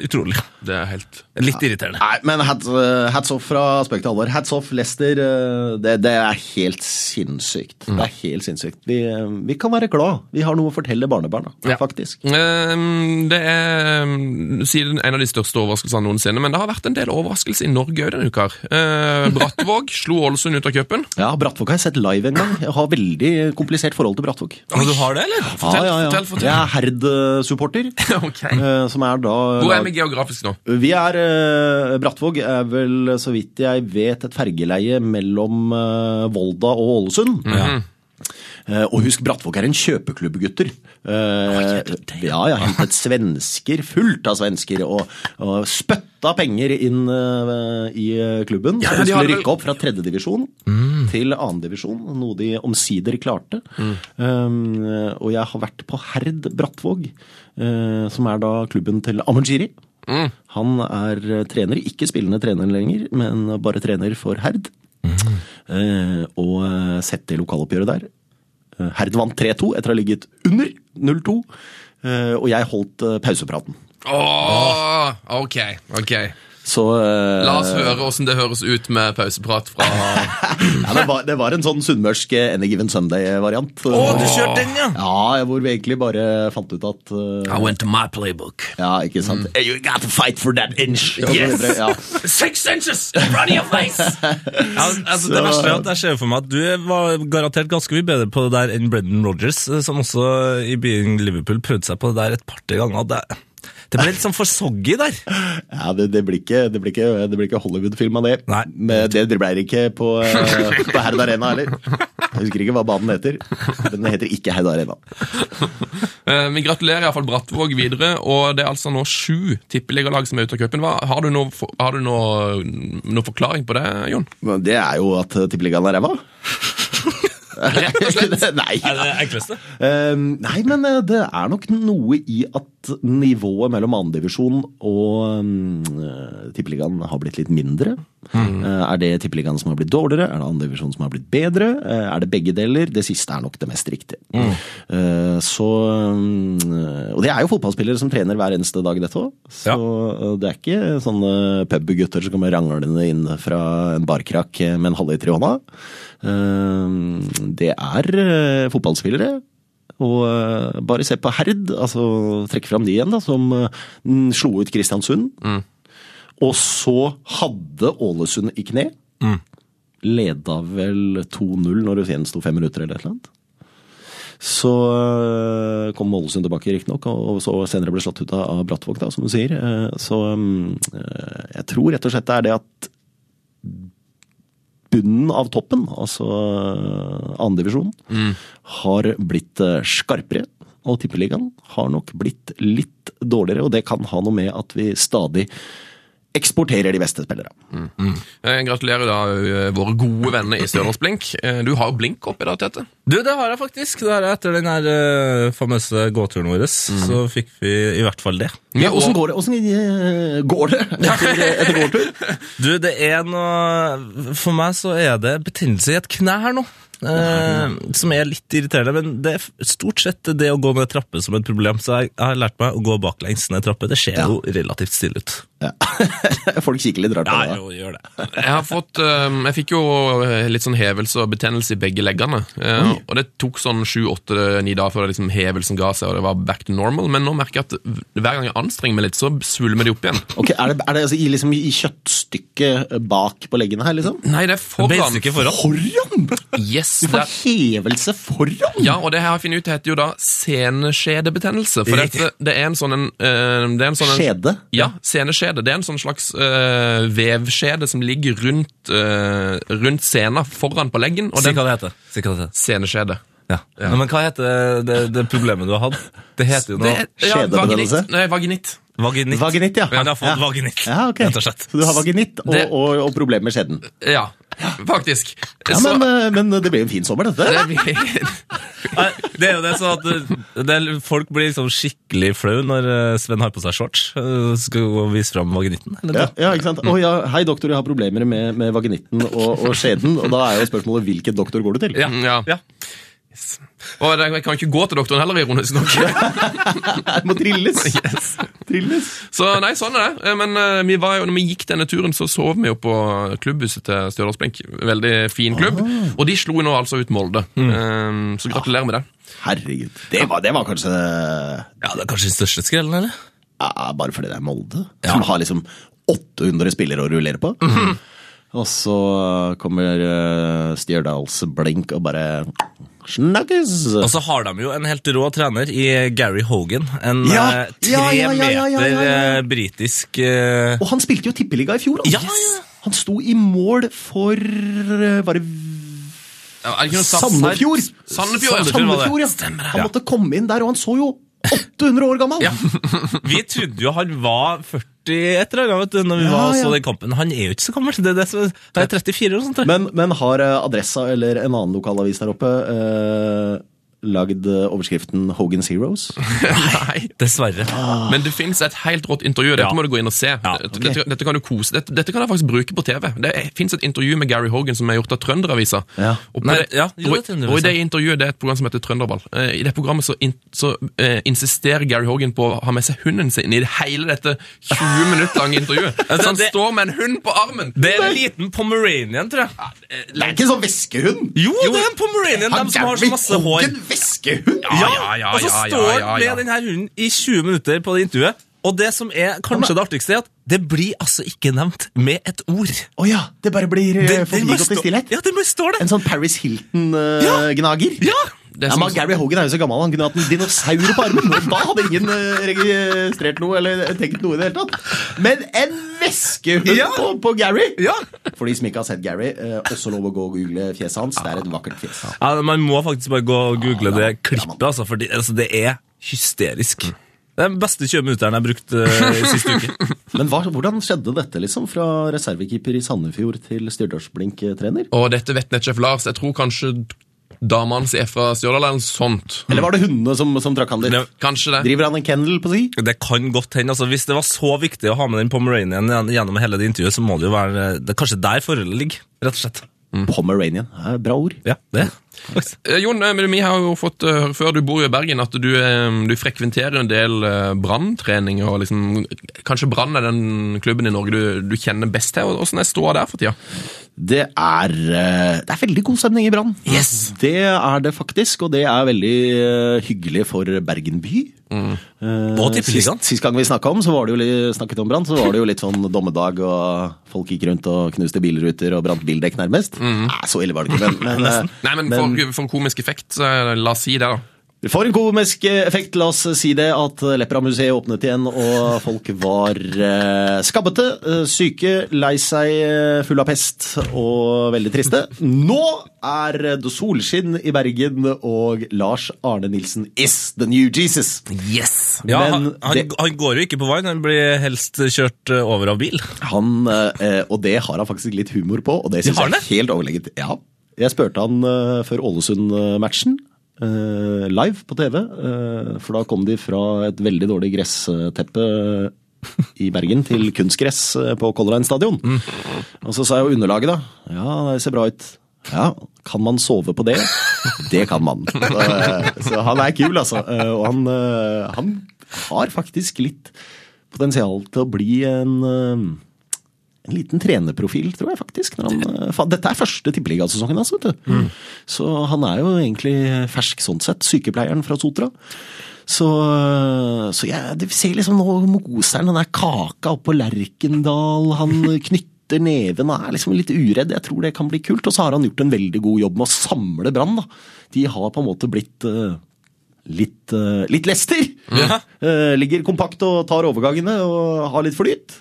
utrolig. Det er helt Litt irriterende. Nei, men hats, eh, hats off fra spøk til alvor. Hats off, Leicester. eh, Det, det er helt sinnssykt. Det er helt sinnssykt. Vi, eh, vi kan være glad. Vi har noe å fortelle barnebarna, Ja. faktisk. Ehm, Det er ehm, siden en av de største overraskelsene noensinne, men det har vært en del overraskelser i Norge òg denne uka. her. Ehm, Brattvåg slo Ålesund ut av cupen. Ja, Brattvåg har jeg sett live en gang. Jeg har veldig komplisert forhold til Brattvåg. Og du har det, eller? Fortell, fortell, fortell. Jeg er Herd-supporter, Ok. eh, som er da Hvor er vi geografisk nå? Vi er eh, Brattvåg er Mhm. vel, så vidt jeg vet, et fergeleie mellom eh, Volda og Ålesund. Eh, Og husk, Brattvåg er en kjøpeklubb, gutter. Eh, Ja, ja, hentet svensker, fullt av svensker, og, og spytta penger inn eh, i eh, klubben. Ja, Så ja, den de har Mm. skulle vel- rykke opp fra tredjedivisjon til annendivisjon, noe de omsider klarte. Mm. Eh, og jeg har vært på Herd Brattvåg, eh, som er da klubben til Amundsjiri. Han er eh, trener, ikke spillende trener lenger, men bare trener for Herd. Eh, og eh, sett det lokaloppgjøret der. Eh, Herd vant 3-2 etter å ha ligget under 0-2. eh, Og jeg holdt eh, pausepraten. Åh, ok, ok. Så eh, La oss høre hvordan det høres ut med pauseprat fra ja, det, var, det var en sånn sunnmørsk eh, Any Given Sunday-variant. Å, du kjørte den, ja! Ja, hvor vi egentlig bare fant ut at eh, I went to my playbook. Ja, ikke sant? Hey, You got to fight for that inch! Yes! Ja. Six inches in front of your face! Ja, altså, det verste er at jeg ser for meg at du var garantert ganske mye bedre på det der enn Brendan Rodgers, eh, som også i byen Liverpool prøvde seg på det der et par-tre ganger. Det, det ble litt sånn for soggy der. Ja, det, det blir ikke, det blir ikke, det blir ikke Hollywood-film av det. Nei. Men det ble det ikke på, eh, på Herd Arena heller. Jeg husker ikke hva banen heter. Den heter ikke Herd Arena. Eh, Vi gratulerer iallfall Brattvåg videre, og det er altså nå sju tippeligalag som er ute av cupen. Hva- Har du noe for- har du noe, noe forklaring på det, Jon? Men det er jo at eh, tippeligaen er ræva. Rett og slett. Nei. Er det enkleste? Eh, nei, men eh, det er nok noe i at nivået mellom andredivisjon og mm, eh, tippeligaen har blitt litt mindre. Eh, er det tippeligaen som har blitt dårligere? Er det andredivisjon som har blitt bedre? Eh, er det begge deler? Det siste er nok det mest riktige. Eh, så mm, Og det er jo fotballspillere som trener hver eneste dag, dette òg. Så Ja. eh, det er ikke sånne pubgutter som kommer ranglende inn fra en barkrakk eh, med en halvliter i hånda. Eh, Det er eh, fotballspillere. Og eh, bare se på Herd, altså trekke fram de igjen, da, som eh, mm, slo ut Kristiansund. Og så hadde Ålesund i kne. Leda vel 2-0 når det gjensto fem minutter eller et eller annet. Så øh, kom Ålesund tilbake, riktignok, og og så senere ble slått ut av av Brattvåg, da, som du sier. Eh, Så mm, eh, jeg tror rett og slett det er det at bunnen av toppen, altså andredivisjonen, divisjon, har blitt eh, skarpere. Og tippeligaen har nok blitt litt dårligere, og det kan ha noe med at vi stadig eksporterer de beste spillere. Eh, Gratulerer da eh, våre gode venner i Stjørdals Blink. Eh, Du har jo blink oppi deg, Tete. Du, det har jeg faktisk. Det har jeg etter den her eh, famøse gåturen vår, så fikk vi i hvert fall det. Ja, Åssen går det? Åssen eh, går det etter, etter gåtur? Du, det er noe For meg så er det betennelse i et kne her nå. Eh, som er litt irriterende, men det er f- stort sett det å gå ned trapper som et problem. Så jeg, jeg har lært meg å gå baklengs ned trapper. Det ser Ja. jo relativt stille ut. Ja. Folk kikker litt rart på deg. jo, gjør det. Jeg, har fått, eh, jeg fikk jo eh, litt sånn hevelse og betennelse i begge leggene. eh, Og det tok sånn sju, åtte, ni dager før det liksom hevelsen ga seg og det var back to normal. Men nå merker jeg at hver gang jeg anstrenger meg litt, så svulmer de opp igjen. Ok, Er det, er det altså i, liksom, i kjøttstykket eh, bak på leggene her, liksom? Nei, det er foran. Beistykket foran. Foran! Yes, Du det får er hevelse foran! Ja, og det her jeg har funnet ut heter jo da seneskjedebetennelse. For Riktig. dette, det er en sånn en, eh, det er en sånn en, Skjede. Ja, seneskjede. Det er en sånn slags eh, vevskjede som ligger rundt, eh, rundt sena foran på leggen. Og Si den hva det heter. Si hva det heter. seneskjede. Ja. Nei, men hva heter det, det problemet du har hatt? Det heter jo Det noe er- ja, Skjedebetennelse? vaginitt. Nei, vaginitt. vaginitt. Vaginitt, ja. Han har Ja. fått vaginitt, Ja, ok. rett og slett. Så du har vaginitt og, Det- og, og problemer med skjeden. Ja, faktisk. Ja, Så- men, eh, men det blir jo en fin sommer, dette. Nei, Det er jo det sånn at uh, det, er- folk blir liksom skikkelig flau når uh, Sven har på seg shorts. uh, Skal gå og vise fram vaginitten. eller Ja, noe. ja, ikke sant? Å ja, hei doktor, jeg har problemer med, med vaginitten og, og skjeden. Og da er jo spørsmålet hvilken doktor går du til? ja. Mm, ja. Ja. Yes. Og det- jeg kan ikke gå til doktoren heller, ironisk nok. Det må trilles! Trilles. Så nei, sånn er det. Eh, Men eh, vi var jo, når vi gikk denne turen, så sov vi jo på klubbhuset til Stjørdals Blink. Veldig fin klubb. Og de slo nå altså ut Molde. Eh, Så gratulerer med det. Herregud. Det var, det var kanskje ja, det er kanskje den største skrellen, eller? Ja, bare fordi det er Molde, som har liksom 800 spillere å rullere på. Mhm. Og så kommer eh, Stjørdals blink og bare Snakkes! Og så har de jo en helt rå trener i eh, Gary Hogan. En Ja, eh, tre ja, ja, ja, ja, ja, ja, meter ja. eh, britisk eh, Og han spilte jo tippeliga i fjor. Ja, Yes. ja. Han sto i mål for eh, Var det Ja, er det ikke noe sats her? Sandefjord! Sandefjord, Sandefjord var det. ja. Han måtte komme inn der, og han så jo 800 år gammel! Ja. Vi trodde jo han var 40 et eller annet vet du, når vi Ja, var og så ja. den kampen. Han er jo ikke så gammel. Det er, det som, han er 34 eller noe sånt. tror jeg. Men, men har eh, Adressa eller en annen lokalavis der oppe eh, lagd eh, overskriften 'Hogan's Heroes'? Nei. Dessverre. Men det fins et helt rått intervju. Dette Ah. Ja. må du gå inn og se. ok. dette, dette kan du kose dette, dette kan jeg faktisk bruke på TV. Det fins et intervju med Gary Hogan som er gjort av Trønderavisa. Ja. Og, på Nei, det, ja, jo, og, det er Trønderavisa. og i det intervjuet det er et program som heter Trønderball. Eh, I det programmet så, in, så eh, insisterer Gary Hogan på å ha med seg hunden sin i det hele dette 20 minutter lange intervjuet. Så han Altså, det- står med en hund på armen! Det er en liten pomeranian, tror jeg. Det er ikke en sånn veskehund! Jo, det er en pomeranian, de som har så masse hår. En veskehund! Ja, ja, ja, og så ja, ja, står ja, han ja. med denne hunden i 20 minutter på det intervjuet. Og det som er kanskje det artigste, er at det blir altså ikke nevnt med et ord. Å ja, det bare blir eh, Det, det bare forbigått i står- stillhet? Ja, det bare står det. En sånn Paris Hilton-gnager? Ja! sånn Det er ja, som- men Gary Hogan er jo så gammel, han kunne hatt en dinosaur på armen. Og da hadde ingen eh, registrert noe eller tenkt noe i det hele tatt. Men en veskehund Ja. på, på Gary! Ja. For de som ikke har sett Gary, eh, også lov å gå og google fjeset hans. Det er et vakkert fjes. Ja, Man må faktisk bare gå og google Ja, ja, det klippet, altså, for det, altså, det er hysterisk. Det er den beste 20 minutteren jeg har brukt uh, siste uke. Men hva, hvordan skjedde dette, liksom? Fra reservekeeper i Sandefjord til Stjørdalsblink-trener? Og dette vet nettsjef Lars. Jeg tror kanskje dama hans er fra Stjørdal eller noe sånt. Eller var det hundene som, som trakk han dit? Det- Kanskje det. Driver han en kennel på si? Det kan godt hende. altså Hvis det var så viktig å ha med den pomeranian gjen- gjennom hele det intervjuet, så må det jo være eh, det er kanskje der forholdet ligger, rett og slett. Pomeranian. Ja, bra ord. Ja, det faktisk. Eh, Jon, eh, men vi har jo fått eh, høre før du bor jo i Bergen at du, eh, du frekventerer en del eh, branntrening. og Liksom, kanskje Brann er den klubben i Norge du, du kjenner best til. Åssen er ståa der for tida? Det er, eh, det er veldig god stemning i Brann. Det er det faktisk, og det er veldig eh, hyggelig for Bergen by. Mm. Eh, Og Tippeligaen. Sist, sist gang vi snakket om, så var det jo litt, snakket om brann, så var det jo litt sånn dommedag, og folk gikk rundt og knuste bilruter og brant bildekk nærmest. Nei, så ille var det ikke, men, men eh, Mm. Nei, men, for, for komisk effekt, så eh, la oss si det, da. For en komisk eh, effekt, la oss si det, at eh, Lepra-museet åpnet igjen, og folk var eh, skabbete, eh, syke, lei seg, eh, full av pest og veldig triste. Nå er det solskinn i Bergen, og Lars Arne Nilsen is the new Jesus. Yes! Ja, Men han, han, det- han går jo ikke på vann, han blir helst kjørt eh, over av bil. Han, eh, og det har han faktisk litt humor på, og det syns har jeg er helt overlegent. Ja. Jeg spurte han eh, før Ålesund-matchen. eh, live på TV, eh, for da kom de fra et veldig dårlig gressteppe i Bergen til kunstgress eh, på Color Line stadion. Og så sa jeg jo underlaget, da. Ja, det ser bra ut. Ja, kan man sove på det? Det kan man. Så, eh, så han er kul, altså. Eh, Og han, eh, han har faktisk litt potensial til å bli en eh, en liten trenerprofil, tror jeg faktisk. Når han, eh, fa- dette er første tippeligasesongen hans, vet du. Så han er jo egentlig fersk sånn sett. Sykepleieren fra Sotra. Så, eh, så jeg det ser liksom nå Moseren, han er kaka oppå Lerkendal, han knytter neven og er liksom litt uredd. Jeg tror det kan bli kult. Og så har han gjort en veldig god jobb med å samle Brann, da. De har på en måte blitt eh, litt, eh, litt lester. Eh, ligger kompakt og tar overgangene og har litt flyt.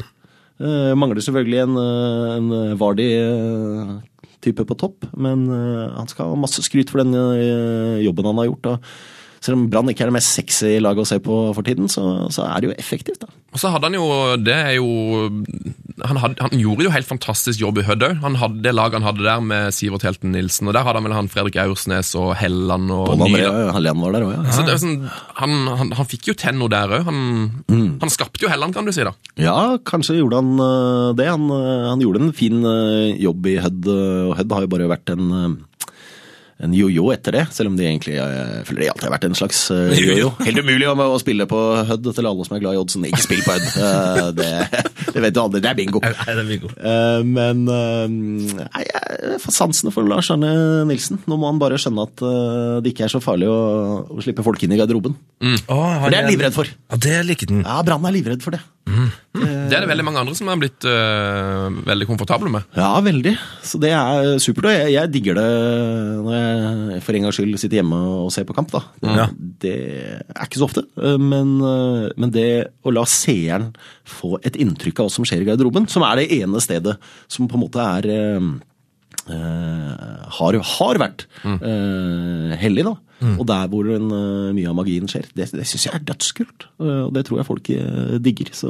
Eh, mangler selvfølgelig en, eh, en Vardi-type på topp, men eh, han skal ha masse skryt for den eh, jobben han har gjort. Og selv om Brann ikke er det mest sexy laget å se på for tiden, så, så er det jo effektivt. da. Og så hadde han jo Det er jo Han, hadde, han gjorde jo helt fantastisk jobb i Hødd òg. Han hadde det laget han hadde der med Sivert Helten Nilsen, og der hadde han vel han Fredrik Aursnes og Helland og Pål André Nydal. Halleland var der òg, ja. Så det er jo sånn, han, han, han fikk jo tenno der òg. Han, han skapte jo Helland, kan du si. da Ja, kanskje gjorde han eh, det. Han, eh, han gjorde en fin eh, jobb i Hødd, eh, og Hødd har jo bare vært en eh, en jojo etter det, selv om de egentlig eh, føler de alltid har vært en slags eh, Jojo. jojo. Helt umulig å, å spille på Hødd til alle som er glad i oddsen. Ikke spill på Hødd! Eh, Det, det vet du aldri, det er bingo. Nei, det blir god. Eh, Men eh, nei, jeg får sansene for Lars Arne Nilsen. Nå må han bare skjønne at eh, det ikke er så farlig å, å slippe folk inn i garderoben. For det er han livredd for. Mm. Ja, det liker den. Ja, Brann er livredd for det. Det er det veldig mange andre som er blitt øh, veldig komfortable med. Ja, veldig. Så det er supert. Og jeg, jeg digger det når jeg for en gangs skyld sitter hjemme og ser på kamp, da. Ja. Det er ikke så ofte. Eh, Men, men det å la seeren få et inntrykk av hva som skjer i garderoben, som er det ene stedet som på en måte er eh, eh, har, har vært eh, hellig, da. Og der hvor en, eh, mye av magien skjer. Det, det syns jeg er dødskult. eh, og det tror jeg folk eh, digger. Så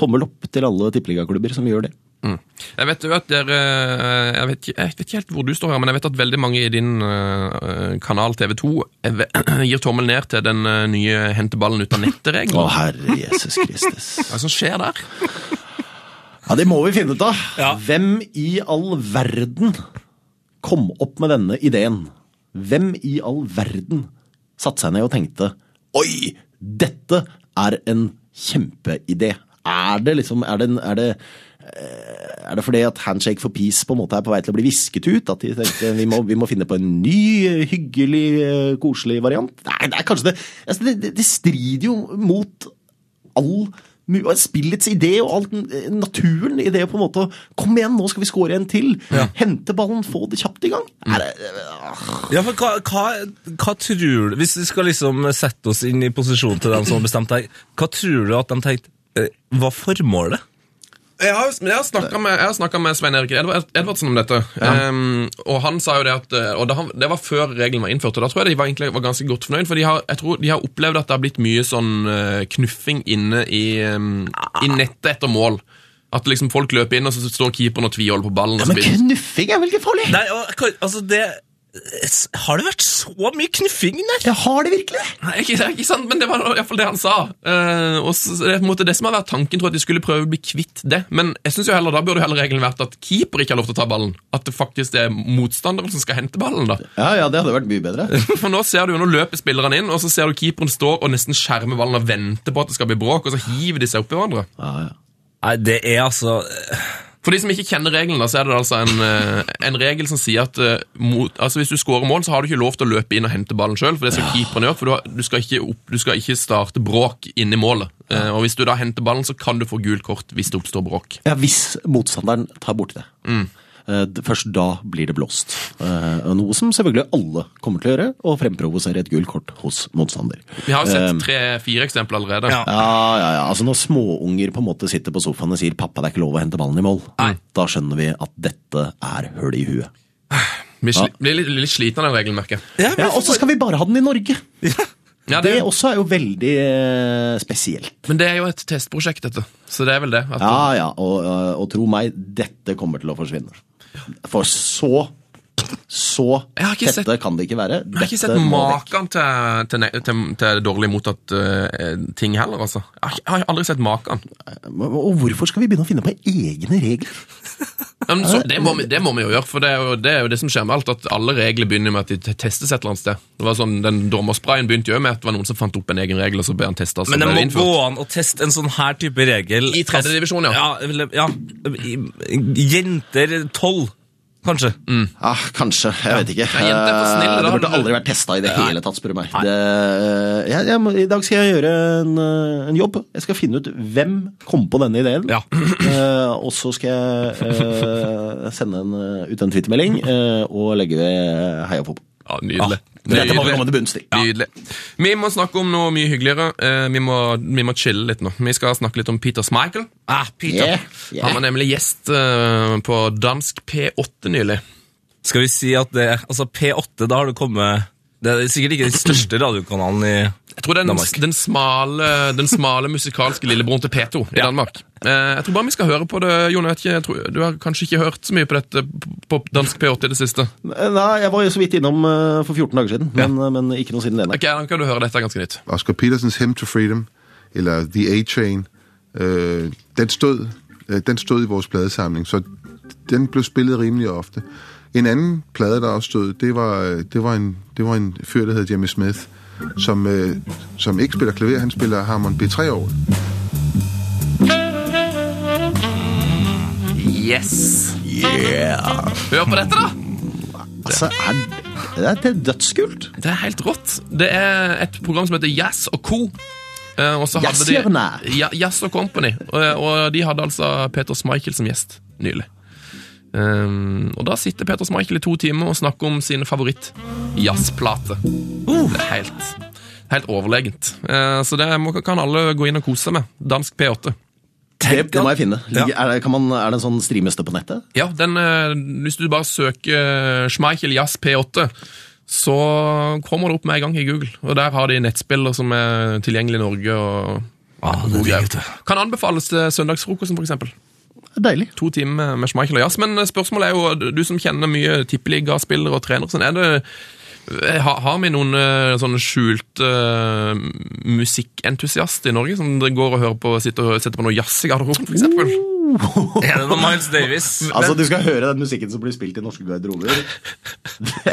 tommel opp til alle tippeligaklubber som gjør det. Mm. Jeg vet jo at dere eh, jeg vet, ikke- jeg vet ikke helt hvor du står her, men jeg vet at veldig mange i din eh, kanal TV2 eh, ve- gir tommel ned til den eh, nye henteballen ut av Å, nettet-regelen. herre Jesus Kristus. Hva er det som skjer der? Ja, det må vi finne ut av. Ja. Hvem i all verden kom opp med denne ideen? Hvem i all verden satte seg ned og tenkte Oi, dette er en kjempeidé. Er det liksom Er det, en- er det eh, er det fordi at Handshake for Peace på en måte er på vei til å bli visket ut? At de tenkte vi må, vi må finne på en ny, eh, hyggelig, eh, koselig variant? Nei, det er kanskje det altså, det, det, det strider jo mot all mu- og spillets idé og alt eh, naturen i det på en måte å, Kom igjen, nå skal vi score en til. Hente ballen, få det kjapt i gang. Er det, ah, Ja, for hva, hva, hva tror du Hvis vi skal liksom sette oss inn i posisjon til dem som har bestemt deg, hva tror du at de tenkte eh, Hva formålet? Jeg har, men jeg har snakka med, jeg har snakket med Svein Erik Edvard- Edvardsen om dette. Ehm, og han sa jo det at eh, og da, han- Det var før regelen var innført, og da tror jeg de var, egentlig, var ganske godt fornøyd. For de har, jeg tror de har opplevd at det har blitt mye sånn eh, knuffing inne i, ehm, i nettet etter mål. At liksom folk løper inn, og så står keeperen og tviholder på ballen. Og så men blir, knuffing er vel ikke farlig? Nei, og, jeg kan- altså det Har det vært så mye knuffing der? Jeg har det virkelig! nei, ikke, det er ikke sant, men det var iallfall det han sa. Eh, og så, så det, er på en måte, det som har vært tanken, tror jeg at de skulle prøve å bli kvitt det. Men jeg synes jo heller, da burde jo heller regelen vært at keeper ikke har lov til å ta ballen. At det faktisk er motstanderen som skal hente ballen. da Ja, ja, det hadde vært mye bedre. For nå ser du jo, nå løper spillerne inn, og så ser du keeperen står og nesten skjermer ballen og venter på at det skal bli bråk, og så hiver de seg oppi hverandre. Ja, ja. Nei, det er altså For de som ikke kjenner regelen, da, så er det altså en, eh, en regel som sier at eh, mot, altså hvis du scorer mål, så har du ikke lov til å løpe inn og hente ballen sjøl, for det skal keeperen gjøre, for du, har, du, skal ikke opp, du skal ikke starte bråk inni målet. Eh, Og hvis du da henter ballen, så kan du få gult kort hvis det oppstår bråk. Ja, hvis motstanderen tar borti det. Eh, d- Først da blir det blåst. Eh, og Noe som selvfølgelig alle kommer til å gjøre, og fremprovosere et gult kort hos motstander. Vi har jo sett tre-fire eksempler allerede. Ja. Ehm. Ja, ja, ja. Altså Når småunger på en måte sitter på sofaen og sier 'pappa, det er ikke lov å hente ballen i mål', da skjønner vi at dette er høl i huet. Vi sli, blir litt, litt sliten av den regelen, merker jeg. Ja, Og så skal vi bare ha den i Norge! Ja, Det det, også er jo veldig eh, spesielt. men det er jo et testprosjekt, dette. Så det er vel det. At Ja, ja, og, eh, og tro meg, dette kommer til å forsvinne. For så så Jeg har ikke tette sett- kan det ikke være. Jeg har ikke sett maken til, til, ne- til, til dårlig mottatt eh, ting heller, altså. Jeg har ikke- jeg har aldri sett maken. Og hvorfor skal vi begynne å finne på egne regler? Ja, Men, så, det, må vi, det må vi jo gjøre, for det er jo, det er jo det som skjer med alt, at alle regler begynner med at de te- testes et eller annet sted. Det var sånn, Den dommersprayen begynte jo med at det var noen som fant opp en egen regel, og så ble han testa. Men det må gå an å teste en sånn her type regel I tredje Altså, divisjon, ja. ja, eller- ja i- Jenter 12, kanskje Mm. Ja, Ah, Kanskje. Jeg vet ikke. Nei, jenter er for Eh, snille, da det har burde du- aldri vært testa i det hele tatt, spør du meg. Det, eh, jeg, jeg, må- I dag skal jeg gjøre en, eh, en jobb. Jeg skal finne ut hvem kom på denne ideen. Ja. Eh, og så skal jeg eh, sende en, eh, ut en twittermelding eh, og legge ved heia fotball. Ja, nydelig. Dette må vi komme til bunns i. Nydelig. Vi må snakke om noe mye hyggeligere. Eh, Vi må, vi må chille litt nå. Vi skal snakke litt om Peter Schmeichel. Ah, Peter Yeah, Han yeah. var nemlig gjest eh, på dansk P8 nylig. Skal vi si at det Altså, P8, da har du kommet Det er sikkert ikke den største radiokanalen i Jeg tror det er Danmark. den, den, smale, den smale musikalske lillebroren til P2 i Danmark. Eh, jeg tror bare vi skal høre på det, Jon. Jeg vet ikke, jeg tror, du har kanskje ikke hørt så mye på dette på dansk P8 i det siste? Eh, Nei, jeg var jo så vidt innom eh, for 14 dager siden, men, men ikke noe siden det. Nei. Ok, da kan du høre dette er ganske nytt. Oscar Petersens Hymn to Freedom, eller The A-Train, øh, den, stod, øh, den stod i vores pladesamling, så den blev spillet rimelig ofte. En anden plade, der også stod, det var, øh, det var, en, det var en fyr, der hed Jimmy Smith, som, øh, som ikke spiller klaver, han spiller Harmon b 3 år. Yes! Hør på dette, da! Altså, er, det er- det er dødskult. Det er helt rått. Det er et program som heter Jazz og Co. Eh, og så hadde Jazz de- Hjørnet. Ja, Jazz og Company. Og, og de hadde altså Peter Schmeichel som gjest nylig. Ehm, og da sitter Peter Schmeichel i to timer og snakker om sin favoritt-jazzplate. Det er helt, helt overlegent. Eh, så det må, kan alle gå inn og kose seg med. Dansk P8. Det, tenk det må at- jeg finne. Ligger, er, det, kan man, er det en sånn streameste på nettet? Ja, den, eh, hvis du bare søker eh, Schmeichel Jazz P8, så kommer det opp med en gang i Google. Og der har de nettspiller som er tilgjengelig i Norge. og... Ah, det er digg, vet du. Kan anbefales til søndagsfrokosten, for eksempel. Deilig. To timer med Schmeichel og jazz. Men eh, spørsmålet er jo, du som kjenner mye tippeligaspillere og trenere, sånn, er det ha- har vi noen eh, sånne skjulte eh, musikkentusiaster i Norge som det går og hører på, sitter og setter på noe jazz i garderoben, for eksempel? Er det noe Miles Davis? Altså, Du skal høre den musikken som blir spilt i norske garderober. Det,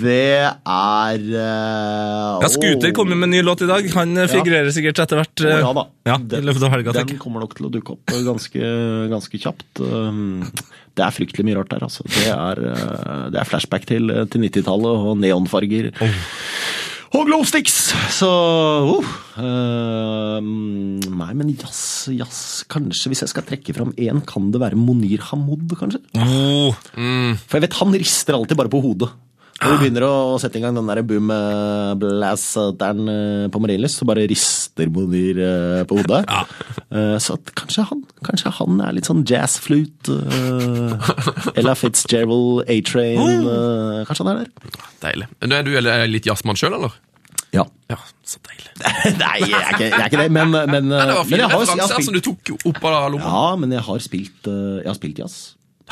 det er uh, Ja, Scooter kom jo med en ny låt i dag. Han eh, figurerer sikkert etter hvert. eh, ja da. Ja, I den, løpet av helga, den tenker jeg. kommer nok til å dukke opp ganske, ganske kjapt. Um, Det er fryktelig mye rart der, altså. Det er, uh, det er flashback til, til 90-tallet og neonfarger. Oh. Og glowsticks! Så uh, um, Nei, men jazz, jazz Kanskje, hvis jeg skal trekke fram én, kan det være Monir Hamoud, kanskje? Oh, For jeg vet han rister alltid bare på hodet. Når du begynner å sette i gang den der boom eh, blasteren eh, på Marienlyst, så bare rister Monir eh, på hodet. Eh, Så at kanskje han kanskje han er litt sånn jazzflute. eh, Ella Fitzgerald, A-Train eh, Kanskje han er der? Deilig. Er du eller, litt jazzmann sjøl, eller? Ja. Ja, så deilig. Nei, jeg er ikke, jeg er ikke det, men, eh, men, Nei, det var men fine jeg har, jeg referanser har her som spilt, du tok opp av lomma. ja, men jeg har spilt, eh, jeg har spilt jazz.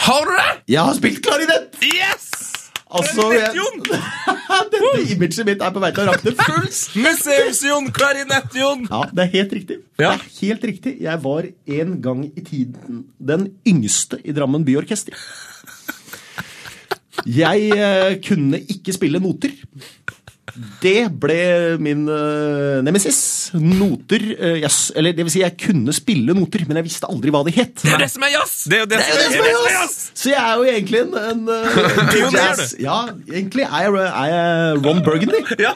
Har du det?! Jeg har spilt klarinett! yes! Altså, jeg, dette imaget mitt er på vei til å rakne fullstendig! Museumsjon! Klarinettjon! Ja, det er helt riktig. Ja. Det er helt riktig. Jeg var en gang i tiden den yngste i Drammen Byorkester. Jeg eh, kunne ikke spille noter. Det ble min eh, nemesis. Noter eh, jeg, s- Eller det vil si, jeg kunne spille noter, men jeg visste aldri hva de het. Det er det som er jazz! Det er jo det, Det er jo det som er jazz! Så jeg er jo egentlig en, en eh, Pioner, du. jazz Ja, egentlig er jeg, er jeg Ron Burgundy. Ja.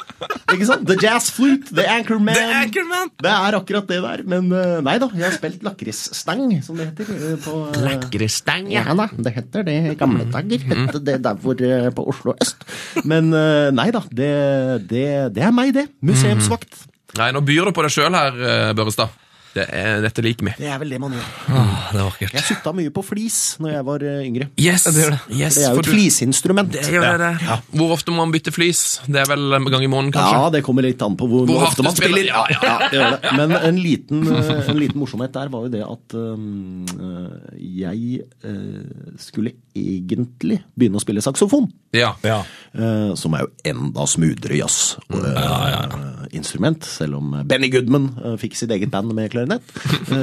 Ikke sant? The Jazz Flute, The Anchorman. Um, The Anchorman. Det er akkurat det der. Men eh, nei da, jeg har spilt lakrisstang, som det heter. eh, På, eh, Gristang, ja da, det heter det i gamle dager. Hette det der hvor eh, på Oslo øst. Men eh, nei da, det, det, det er meg, det. Museumsvakt. Nei, nå byr du på deg sjøl her, eh, Børrestad. Det er, dette liker vi. Det er vel det man gjør. Ah, det er vakkert. Jeg sutta mye på flis når jeg var eh, yngre. Yes, Det er jo et flisinstrument. Hvor ofte må man bytte flis? Det er vel en gang i måneden, kanskje? Ja, det kommer litt an på hvor, Hvor hardt ofte man du spiller. spiller. Ja, ja. det gjør det. Men en liten, eh, en liten morsomhet der var jo det at um, eh, jeg eh, skulle egentlig begynne å spille saksofon. Ja. Ja. eh, som er jo enda smoothere Mm, jazz-instrument, selv om Benny Goodman eh, fikk sitt eget band med klarinett.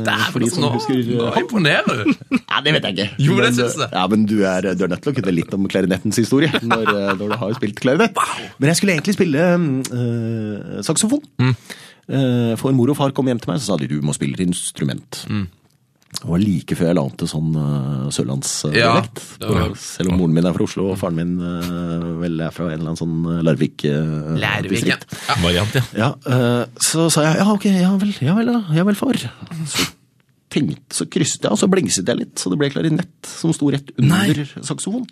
Eh, for de som altså Nå, husker eh, nå imponerer du! ja, Det vet jeg ikke. Jo, det Men, synes jeg. Ja, men du er, du er nødt til å kunne litt om klarinettens historie når, eh, når du har spilt klarinett. Men jeg skulle egentlig spille eh, saksofon. Mm. Eh, for mor og far kom hjem til meg så sa de du må spille et instrument. Mm. Det var like før jeg la om til sånn uh, Ja, sørlandsdialekt. det var- selv om moren min er fra Oslo og faren min eh, vel er fra en eller annen sånn Larvik-distrikt. Ja. Variant, ja. Ja, eh, så sa jeg ja, ok, ja vel, ja vel, da, ja vel, far. Så tenkte, så krysset jeg, og så blingset jeg litt, så det ble klarinett som sto rett under saksofon.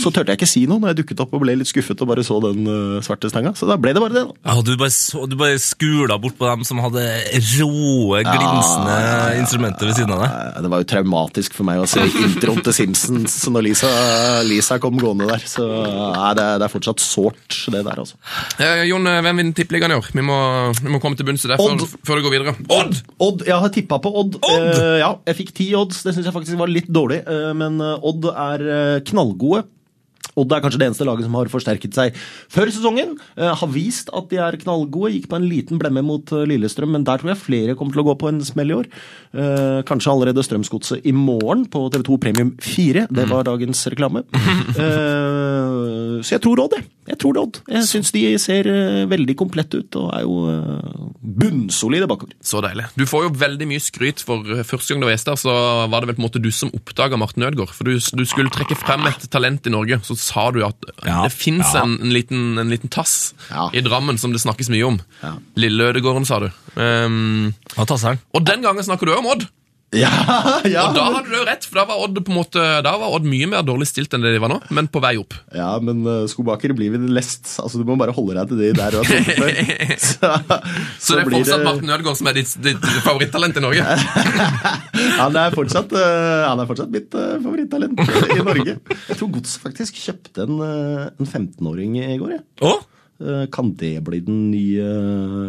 Så turte jeg ikke si noe når jeg dukket opp og ble litt skuffet og bare så den eh, svarte stanga, så da ble det bare det. da. Ah, du, bare så, du bare skula bort på dem som hadde råe, Ah, glinsende instrumenter ved siden av deg. Eh, Det var jo traumatisk for meg å se introen til Simpsons når Lisa, Lisa kom gående der, så eh, nei, det, er- det er fortsatt sårt, det der, altså. Eh, Jon, eh, hvem vinner tippeligaen i år? Vi må, vi må komme til bunns i det før, Odd. før det går videre. Odd! Odd, Jeg har tippa på Odd. Eh, ja, jeg fikk ti odds. Det syns jeg faktisk var litt dårlig. eh, men eh, Odd er eh, knallgode. Odd er kanskje det eneste laget som har forsterket seg før sesongen. eh, har vist at de er knallgode. Gikk på en liten blemme mot eh, Lillestrøm, men der tror jeg flere kommer til å gå på en smell i år. Eh, kanskje allerede Strømsgodset i morgen på TV2 Premium 4. Det var dagens reklame. Eh, så jeg tror Odd, jeg. Jeg tror det Odd. Jeg syns de ser eh, veldig komplette ut og er jo eh, bunnsolide bakover. Så deilig. Du får jo veldig mye skryt for eh, første gang du var gjest her, så var det vel på en måte du som oppdaga Martin Ødegaard. For du, du skulle trekke frem et talent i Norge, så sa du at Ja, det fins ja. en, en, liten- en liten tass Ja. i Drammen som det snakkes mye om. Ja. Lille Ødegaarden, sa du. Um, Og tasseren. og den gangen snakker du òg om Odd! Ja, ja. Og da hadde du jo rett, for da var Odd på en måte Da var Odd mye mer dårlig stilt enn det de var nå, men på vei opp. ja men eh, skobaker blir vi lest. Altså, du må bare holde deg til de der du har truffet før. Så, Så, det er fortsatt Martin Ødegaard som er ditt, ditt favorittalent i Norge. Han er fortsatt, eh, han er fortsatt mitt eh, favorittalent i Norge. Jeg tror Godset faktisk kjøpte en, eh, en 15-åring i går. jeg. Å? Eh, Kan det bli den nye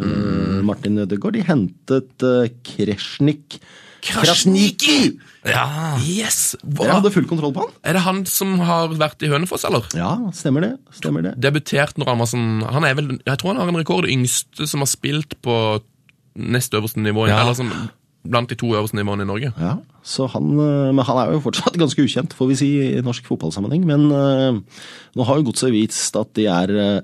Mm. eh, Martin Ødegaard? De hentet eh, Kresjnik. Krasniki! Ja. Yes! Jeg Hva? hadde full kontroll på han. Er det han som har vært i Hønefoss, eller? Ja, stemmer det. stemmer det. Debutert når han var sånn Han er vel Jeg tror han har en rekord. Yngste som har spilt på nest øverste nivå, Ja. eller som blant de to øverste nivåene i Norge. Ja, så han, eh, Men han er jo fortsatt ganske ukjent, får vi si, i norsk fotballsammenheng. Men eh, nå har jo Godset vist at de er eh,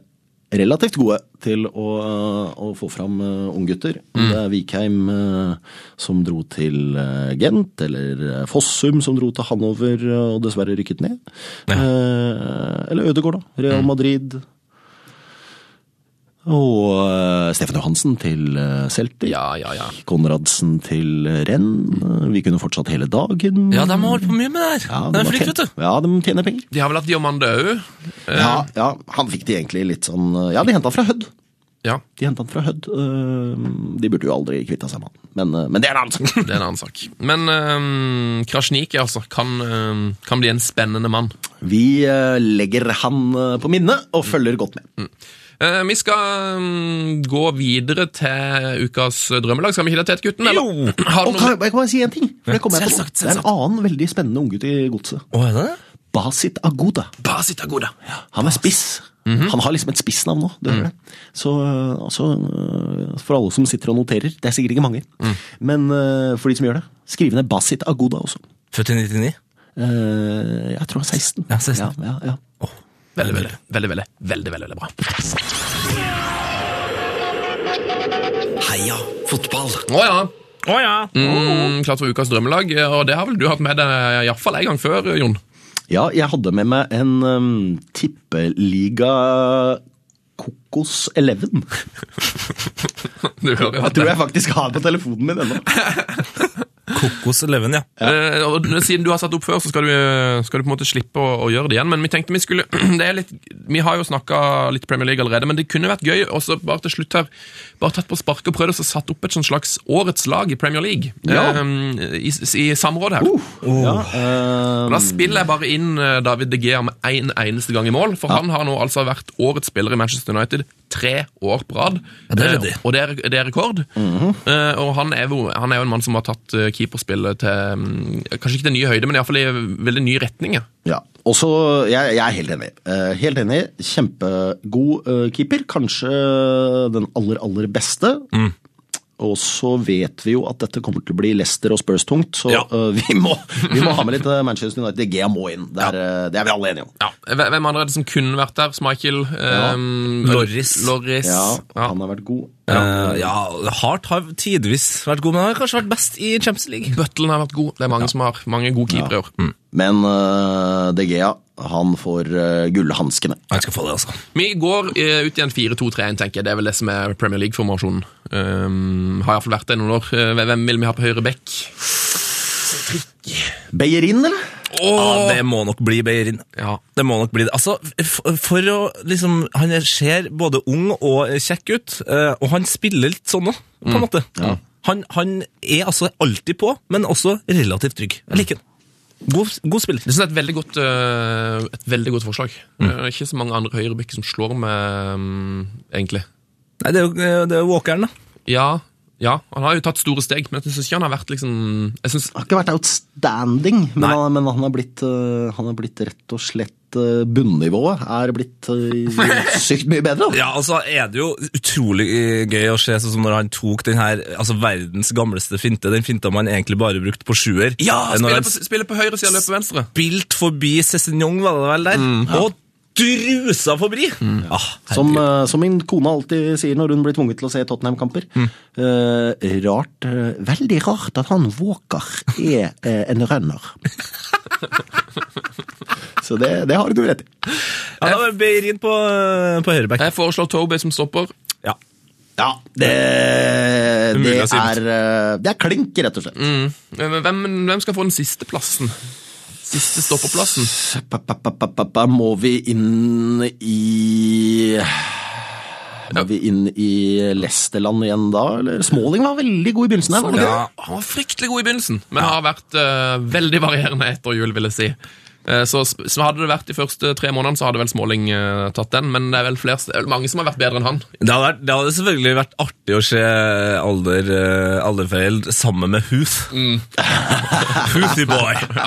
relativt gode til å, eh, å få fram eh, unggutter. Om Det er Vikheim eh, som dro til eh, Gent, eller eh, Fossum som dro til Hannover eh, og dessverre rykket ned. Eh, Eller Ødegaard, da. Real Madrid. Og eh, Stefan Johansen til eh, Celtic. Ja, ja, ja. Konradsen til renn. Vi kunne fortsatt hele dagen. Ja, de har holdt på mye med det her. Ja, de var er tjent- flinke, vet du. Ja, de tjener penger. De har vel hatt Diamande òg. Ja, ja, han fikk de egentlig litt sånn Ja, de henta han fra Hødd. Ja, De hentet han fra Hødd. Eh, De burde jo aldri kvitta seg med han, men, eh, men det er en annen sak. det er en annen sak. Men um, Krasjniki altså, kan, øhm, kan bli en spennende mann. Vi eh, legger han eh, på minne og følger godt med. Mm. Eh, vi skal mm, gå videre til ukas drømmelag. Skal vi ikke det, Tetgutten? eller? Har du Og kan, noe- jeg- kan jeg bare si en ting? For det, kommer jeg på. nå. Selvsagt, det er en annen veldig spennende unggutt i godset. Å, er det det? Basit Agoda. Basit Agoda. Han er spiss. Han har liksom et spissnavn nå. Det hører jeg. Så øh, altså, øh, for alle som sitter og noterer, det er sikkert ikke mange, men øh, for de som gjør det, skriv ned Basit Agoda også. Født i 99? Eh, jeg tror han er 16. Ja, 16. Ja, ja, ja. Veldig, veldig, veldig, veldig, veldig, veldig, veldig bra. Heia fotball. Å ja. Å ja. Mm, klart for ukas drømmelag, eh, og det har vel du hatt med deg iallfall en gang før, Jon. ja, jeg hadde med meg en øhm, tippeliga Kokos 11. Du hører jo Jeg at det. tror jeg faktisk har på telefonen min ennå. Kokos Eleven, ja. Eh, og siden du har satt opp før, så skal du, skal du på en måte slippe å, å gjøre det igjen. Men vi tenkte vi skulle det er litt, Vi har jo snakka litt Premier League allerede, men det kunne vært gøy også bare til slutt her Bare tatt på sparket og prøvd å satt opp et sånn slags årets lag i Premier League Ja. eh, i, i samråd her. Ja, eh, øhm, Og Da spiller jeg bare inn eh, David De Gea med en eneste gang i mål, for han har nå altså vært årets spiller i Manchester United tre år på rad. det er Eh, ryddig. Og det er, det er rekord. Eh, Og han er, jo, han er jo en mann som har tatt eh, keeperspillet til mm, Kanskje ikke til nye høyder, men iallfall i veldig nye retninger. Ja, og så, jeg, jeg er helt enig. Eh, helt enig, kjempegod eh, keeper. Kanskje eh, den aller, aller beste. Og så vet vi jo at dette kommer til å bli Leicester og Spurs tungt, så Ja. eh, vi, må, vi må ha med litt eh, Manchester United. De Gea må inn, det er, eh, det er vi alle enige om. Ja. Hve- Hvem andre er det som kunne vært der? Schmeichel? Ja. Loris. Loris. Ja, Ja. han har vært god. Eh, ja, Hart har tidvis vært god, men han har kanskje vært best i Champions League. Butlen har vært god. Det er mange som har mange gode keepere i år. Mm. Men eh, De Gea, han får eh, gullhanskene. Han skal få det, altså. Vi går eh, ut i en 4-2-3-1, tenker jeg. Det er vel det som er Premier League-formasjonen. Um, har iallfall vært det i noen år. Eh, Hvem vil vi ha på høyre bekk? Beyerin, eller? Ja, det må nok bli Beirin. Ja. Det må nok bli det. Altså, for, for å liksom Han er- ser både ung og kjekk ut, eh, og han spiller litt sånn òg, på en måte. Han, han er altså alltid på, men også relativt trygg. Jeg liker han. God, god spiller. Det synes jeg er sånn et veldig godt, eh, et veldig godt forslag. Eh, Det er ikke så mange andre høyrebekker som slår med, um, egentlig. Nei, det er jo eh, det er walkeren, da. Ja, ja, han har jo tatt store steg, men jeg syns ikke han har vært liksom Jeg synes, Han har ikke vært outstanding, men, Nei. han, men han, har blitt, øh, han har blitt rett og slett øh, Bunnivået er blitt øh, sykt mye bedre. Da. Ja, altså er det jo utrolig eh, gøy å se sånn som når han tok den her altså verdens gamleste finte, den finta man egentlig bare brukte på sjuer. ja, Eh, når spiller han på, spiller på høyre side, løper på venstre. spilt forbi Cézignon, var det vel der, og drusa forbi! Ah, Som, øh, som min kone alltid sier når hun blir tvunget til å se Tottenham-kamper. øh, rart, øh, Veldig rart at han Walker er øh, en runner. Så det, det har du rett i. Ja, da var det Beirin på, eh, på høyreback. Jeg foreslår Tobey som stopper. Ja. Ja, det, det Umulig å si. er, eh, det er klink, rett og slett. Men Hvem, Eh, hvem skal få den siste plassen? Siste stoppeplassen? Pa, pa, pa, pa, pa, pa, må vi inn i Må vi inn i Lesterland igjen da, eller? Smalling var veldig god i begynnelsen der. var det ikke Ja, han var fryktelig god i begynnelsen, men har vært eh, veldig varierende etter jul, vil jeg si. Eh, så, sp- så hadde det vært de første tre månedene, så hadde vel Småling eh, tatt den, men det er vel flere, st- mange som har vært bedre enn han. Det hadde, vært, det hadde selvfølgelig vært artig å se alder, eh, alderfeil sammen med Huth. Huthy boy. det?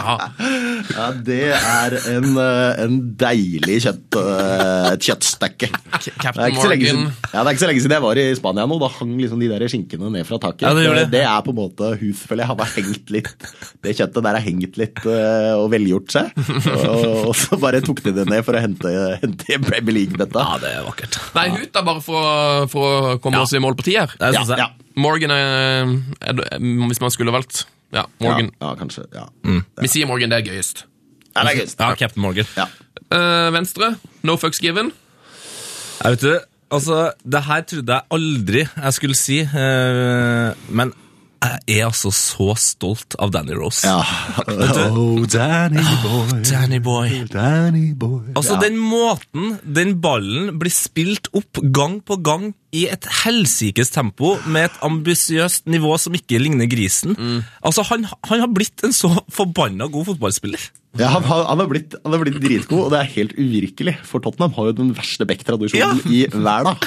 Ja, det er en, eh, en deilig kjøtt, eh, et kjøttstekke. K- Det er, Captain ikke så lenge siden, Morgan. ja, det er ikke så lenge siden jeg var i Spania nå. Da hang liksom de der skinkene ned fra taket. Ja, det gjorde det. er på en måte hus, føler jeg. Har bare hengt litt. Det kjøttet der har hengt litt eh, og velgjort seg. Og, og så bare tok de det ned for å hente, hente hjem Premier League-betta. Ja, det er vakkert. Nei, ut da, bare for, å- for å komme oss i mål på ti her. Det synes jeg. ja. Morgan er, er, det- Hvis man skulle valgt. Ja, Morgan. Ja, ja kanskje. Ja. Vi sier Morgan, det er gøyest. Ja, det er gøyest. Ja, Captain Morgan. Ja. Eh, venstre, no fucks given. Jeg vet du, altså, det her trodde jeg aldri jeg skulle si, eh, men jeg er altså så stolt av Danny Rose. Oh, Danny boy, Danny boy. Danny boy. Altså, Ja. den måten den ballen blir spilt opp gang på gang i et helsikes tempo, med et ambisiøst nivå som ikke ligner grisen Mm. Altså, han, han har blitt en så forbanna god fotballspiller. Ja, han, har- han, har blitt, han har blitt dritgod, og det er helt uvirkelig. For Tottenham har jo den verste Beck-tradisjonen i verden.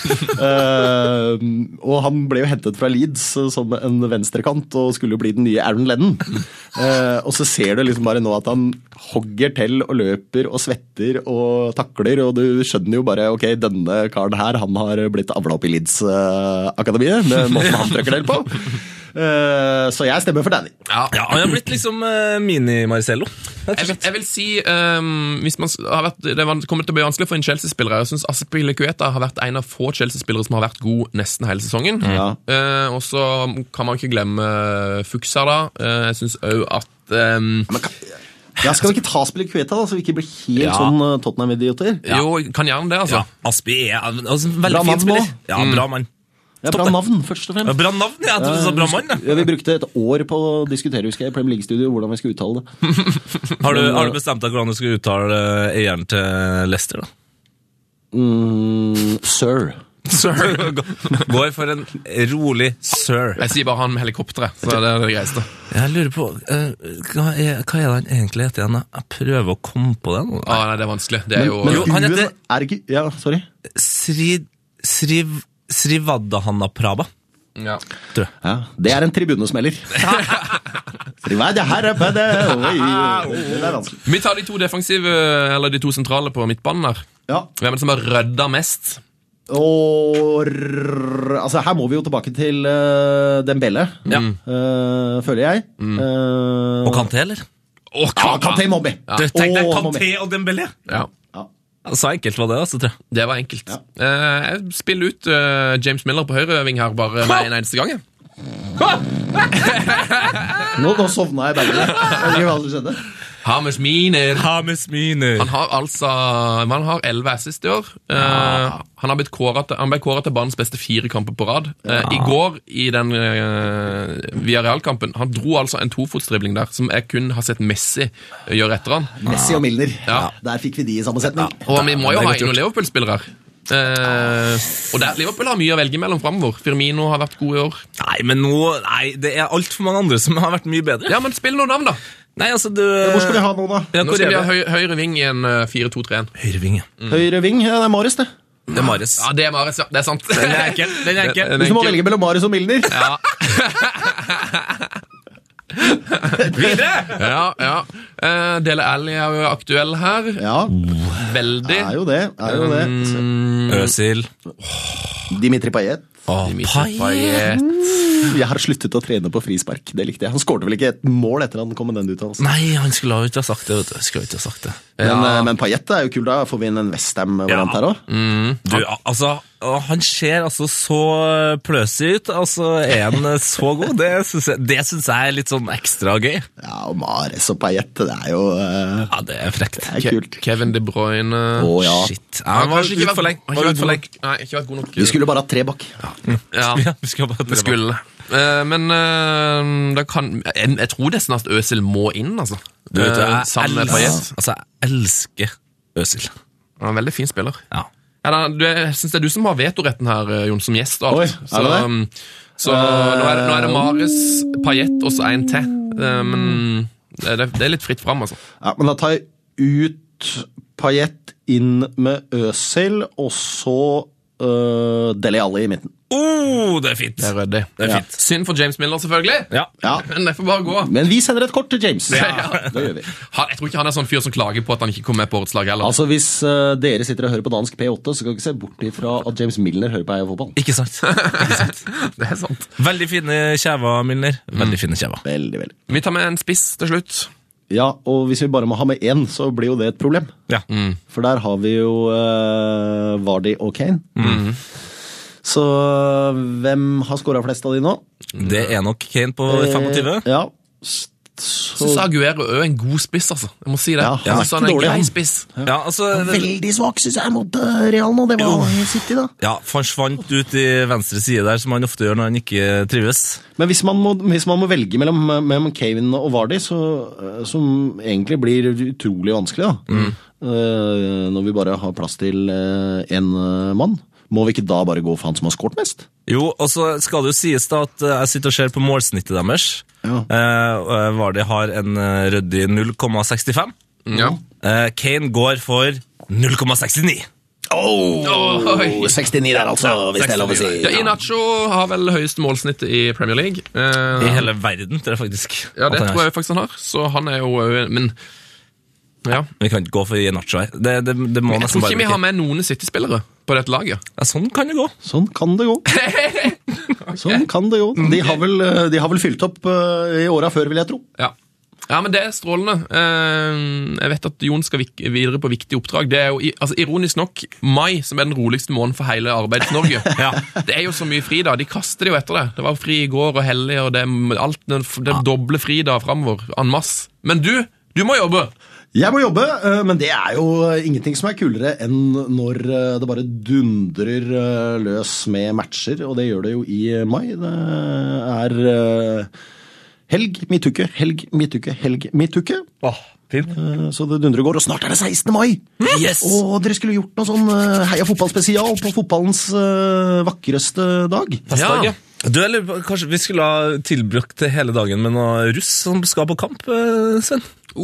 Eh, og han ble jo hentet fra Leeds eh, som en venstrekant og skulle jo bli den nye Aaron Lennon. Eh, og så ser du liksom bare nå at han hogger til og løper og svetter og takler, og du skjønner jo bare ok, denne karen her, han har blitt avla opp i Leeds-akademiet med måten han trøkker til på. Eh, så jeg stemmer for Danny. Ja, Han har blitt liksom eh, mini-Marcello. Jeg vil, jeg vil si um, hvis man s- har vært, Det var- kommer til å bli vanskelig for en Chelsea-spiller. Jeg syns Aspilicueta har vært en av få Chelsea-spillere som har vært god nesten hele sesongen. Ja. Eh, og så kan man ikke glemme Fuxa, da. Eh, jeg syns òg at um, Ja, Skal vi ikke ta spillet Kveta, da, så vi ikke blir helt Ja. sånn eh, Tottenham-idioter? Jo, kan gjerne det, altså. Ja, Aspi er en altså, en veldig Bra mann Mm. fin spiller. nå. Ja, bra mann. Det er bra navn, først og Ja, fremst. Bra navn, ja. Jeg trodde du sa bra mann. jeg. Ja, vi brukte et år på å diskutere husker jeg, i Premier League-studio hvordan vi skulle uttale det. Har du, har du bestemt deg hvordan du skal uttale eh, eieren til Leicester, da? Mm, sir. Sir. Går for en rolig sir. Jeg sier bare han med helikopteret. Så det er det greieste. Jeg lurer på, eh, hva, er, hva er det han egentlig heter igjen? da? Jeg prøver å komme på det nå. Ah, nei, det er vanskelig. Det er jo Men Jo, han U-en heter- er ikke Ja, sorry. Sri, Sriv, Srivadahanna Praba. ja. Ja, det er en tribunesmeller. Fordi, hva er det her oppe? Det, oi, oi, det er vanskelig. Vi tar de to defensive, eller de to sentrale på midtbanen her. Ja, Hvem er det som har rydda mest? og rrr, Altså, her må vi jo tilbake til eh, Dembele, Ja. Mm. eh, føler jeg. Eh, Og Kanté, eller? Å, Ja, Kanté Mobby! Ja. Du, Tenk deg Åh, han må Kanté og Dembélé! Ja. Ja. Så enkelt var det, altså, tror jeg. Det var enkelt. Eh, jeg spiller ut eh, James Miller på høyre ving her bare med en eneste gang. jeg. Nå, nå sovna jeg i bagen. Jeg vet ikke hva som skjedde. Hames Miner. Hames Miner. Han har altså Han har 11 assist i år. Eh, han, har blitt kåret, til- han ble kåret til banens beste fire kamper på rad. Eh, I går, i den uh, Villarreal-kampen, han dro altså en tofotsdribling der som jeg kun har sett Messi eh, gjøre etter han. Messi og Milner. Ja. Der fikk vi de i samme setning. Og vi må jo det er ha godt inn noen Liverpool-spillere. Eh, og der, Liverpool har mye å velge mellom framover. Firmino har vært god i år. Ah, Nei, men nå Nei, det er altfor mange andre som har vært mye bedre. Ja, men spill noen navn, da! Nei, altså, du Hvor skal vi ha nå, da? Ja, Nå skal vi ha høy... høy, høyre ving i en eh, 4-2-3-1. Høyrevinge. Høyre ving? Ja, det er Marius, det. Det er Mares. Ja, det er Mares, ja. Det er sant. Den er enkel. Den er enkel. Hvis du må velge mellom Marius og Milner Ja. Videre! ja, ja. Eh, Dele Alli er jo aktuell her. Ja, Veldig. er jo det. Er jo det. Øsil. Dimitri Payet. Oh, Dimitri Payet. Jeg har sluttet å trene på frispark. Det likte jeg. Han skårte vel ikke et mål etter han kom med den uttalelsen. Nei, han skulle jo ikke ha sagt det. vet du. Han Skulle jo ikke ha sagt det. Men, eh, men Payet er jo kul, da. Får vi inn en Westham-variant Ja. her òg? Du, al- altså, å, han ser altså så pløsig ut. Altså, er han eh, så god? Det syns jeg, det synes jeg er litt sånn ekstra gøy. Ja, og Mares og Payet, det er jo eh, Ja, det er frekt. det er kult. Kevin De Bruyne. Å ja. Shit. Ja, han var kanskje ikke ut vært- for lenge. han Var har ut for lenge. Nei, ikke vært god nok. Vi skulle bare hatt tre bak. Ja, Ja, vi skal bare vi skulle. Eh, men eh, da kan jeg, jeg tror nesten at Øsil må inn, altså. Du vet, Eh, jeg, sammen med Payet. elsker, altså, jeg elsker Øsil. Han er en veldig fin spiller. Ja. Ja, da, du, jeg syns det er du som har vetoretten her, eh, Jon, som gjest. og Oi, alt. er det Så, det? um, så nå, er det, nå er det Maris, Payet og så en til. Eh, Men det, det- det er litt fritt fram, altså. Ja, men da tar jeg ut Payet, inn med Øsil, og så øh, Dele Alli i midten. Oh, det er fint! Det er, ryddig. Ja. fint. Synd for James Miller, selvfølgelig. Ja. Ja. Men det får bare gå. Men vi sender et kort til James. Ja. Det gjør vi. Han, jeg tror ikke han er sånn fyr som klager på at han ikke kom med på årets lag heller. Altså, Hvis øh, dere sitter og hører på dansk P8, så kan dere ikke se bort ifra at James Milner hører på Eia fotball. Ikke sant? Ikke sant? det er sant. Veldig fine kjever, Milner. Veldig fine kjever. Veldig, veldig. Vi tar med en spiss til slutt. Ja, og hvis vi bare må ha med én, så blir jo det et problem. Ja. For der har vi jo øh, Vardy og Kane. Mm-hmm. Så øh, hvem har scora flest av de nå? Det er nok Kane på 25. Eh, Ja. S- Så Så, sa Aguero òg en god spiss, altså. Jeg må si det. Ja, han er Jeg synes ikke han er en dårlig, grei han. spiss. Ja, altså, veldig svak, syns jeg, mot øh, Real nå. Det var City, da. ja, forsvant ut i venstre side der, som han ofte gjør når han ikke trives. Men hvis man må, hvis man må velge mellom, eh, mellom Kevin og Vardy, så, eh, som egentlig blir utrolig vanskelig, da, eh, når vi bare har plass til én mann, må vi ikke da bare gå for han som har skåret mest? Jo, og så skal det jo sies da at eh, jeg sitter og ser på målsnittet deres. Ja. Eh, og, eh, Vardy har en eh, ryddig 0,65. Ja. Eh, Kane går for 0,69. Oi. 69 der, altså, hvis det er lov å si. Ja, Inacho har vel høyest målsnitt i Premier League. Eh, I hele verden, tror jeg faktisk. Ja, at det han tror har. jeg faktisk han har. Så han er jo eh, Men ja. Vi kan ikke gå for Nacho her. Det, det, det må Jeg nesten tror bare ikke vi har bli- med noen City-spillere på dette laget. ja, Sånn kan det gå. Sånn kan det gå. Sånn kan det gå. De har vel, eh, de har vel fylt opp eh, i åra før, vil jeg tro. Ja. ja, men det er strålende. Eh, Jeg vet at Jon skal vik- videre på viktige oppdrag. Det er jo i- altså, ironisk nok mai, som er den roligste måneden for hele Arbeids-Norge. Ja. Det er jo så mye fridag. De kaster det jo etter det. Det var jo fri i går og hellig, og det er alt det er doble fridag framover. En masse. Men du, du må jobbe! Jeg må jobbe, eh, men det er jo ingenting som er kulere enn når eh, det bare dundrer eh, løs med matcher, og det gjør det jo i eh, mai. Det er eh, helg, midtuke, helg, midtuke, helg, midtuke. Eh, Så det dundrer og går, og snart er det 16. mai! Hm? Yes! Og dere skulle gjort noe sånn eh, Heia fotballspesial på fotballens eh, vakreste dag. Ja. Ja. Du, jeg lurer på, Kanskje vi skulle ha tilbrakt hele dagen med noen russ som skal på kamp, eh, Sven? Det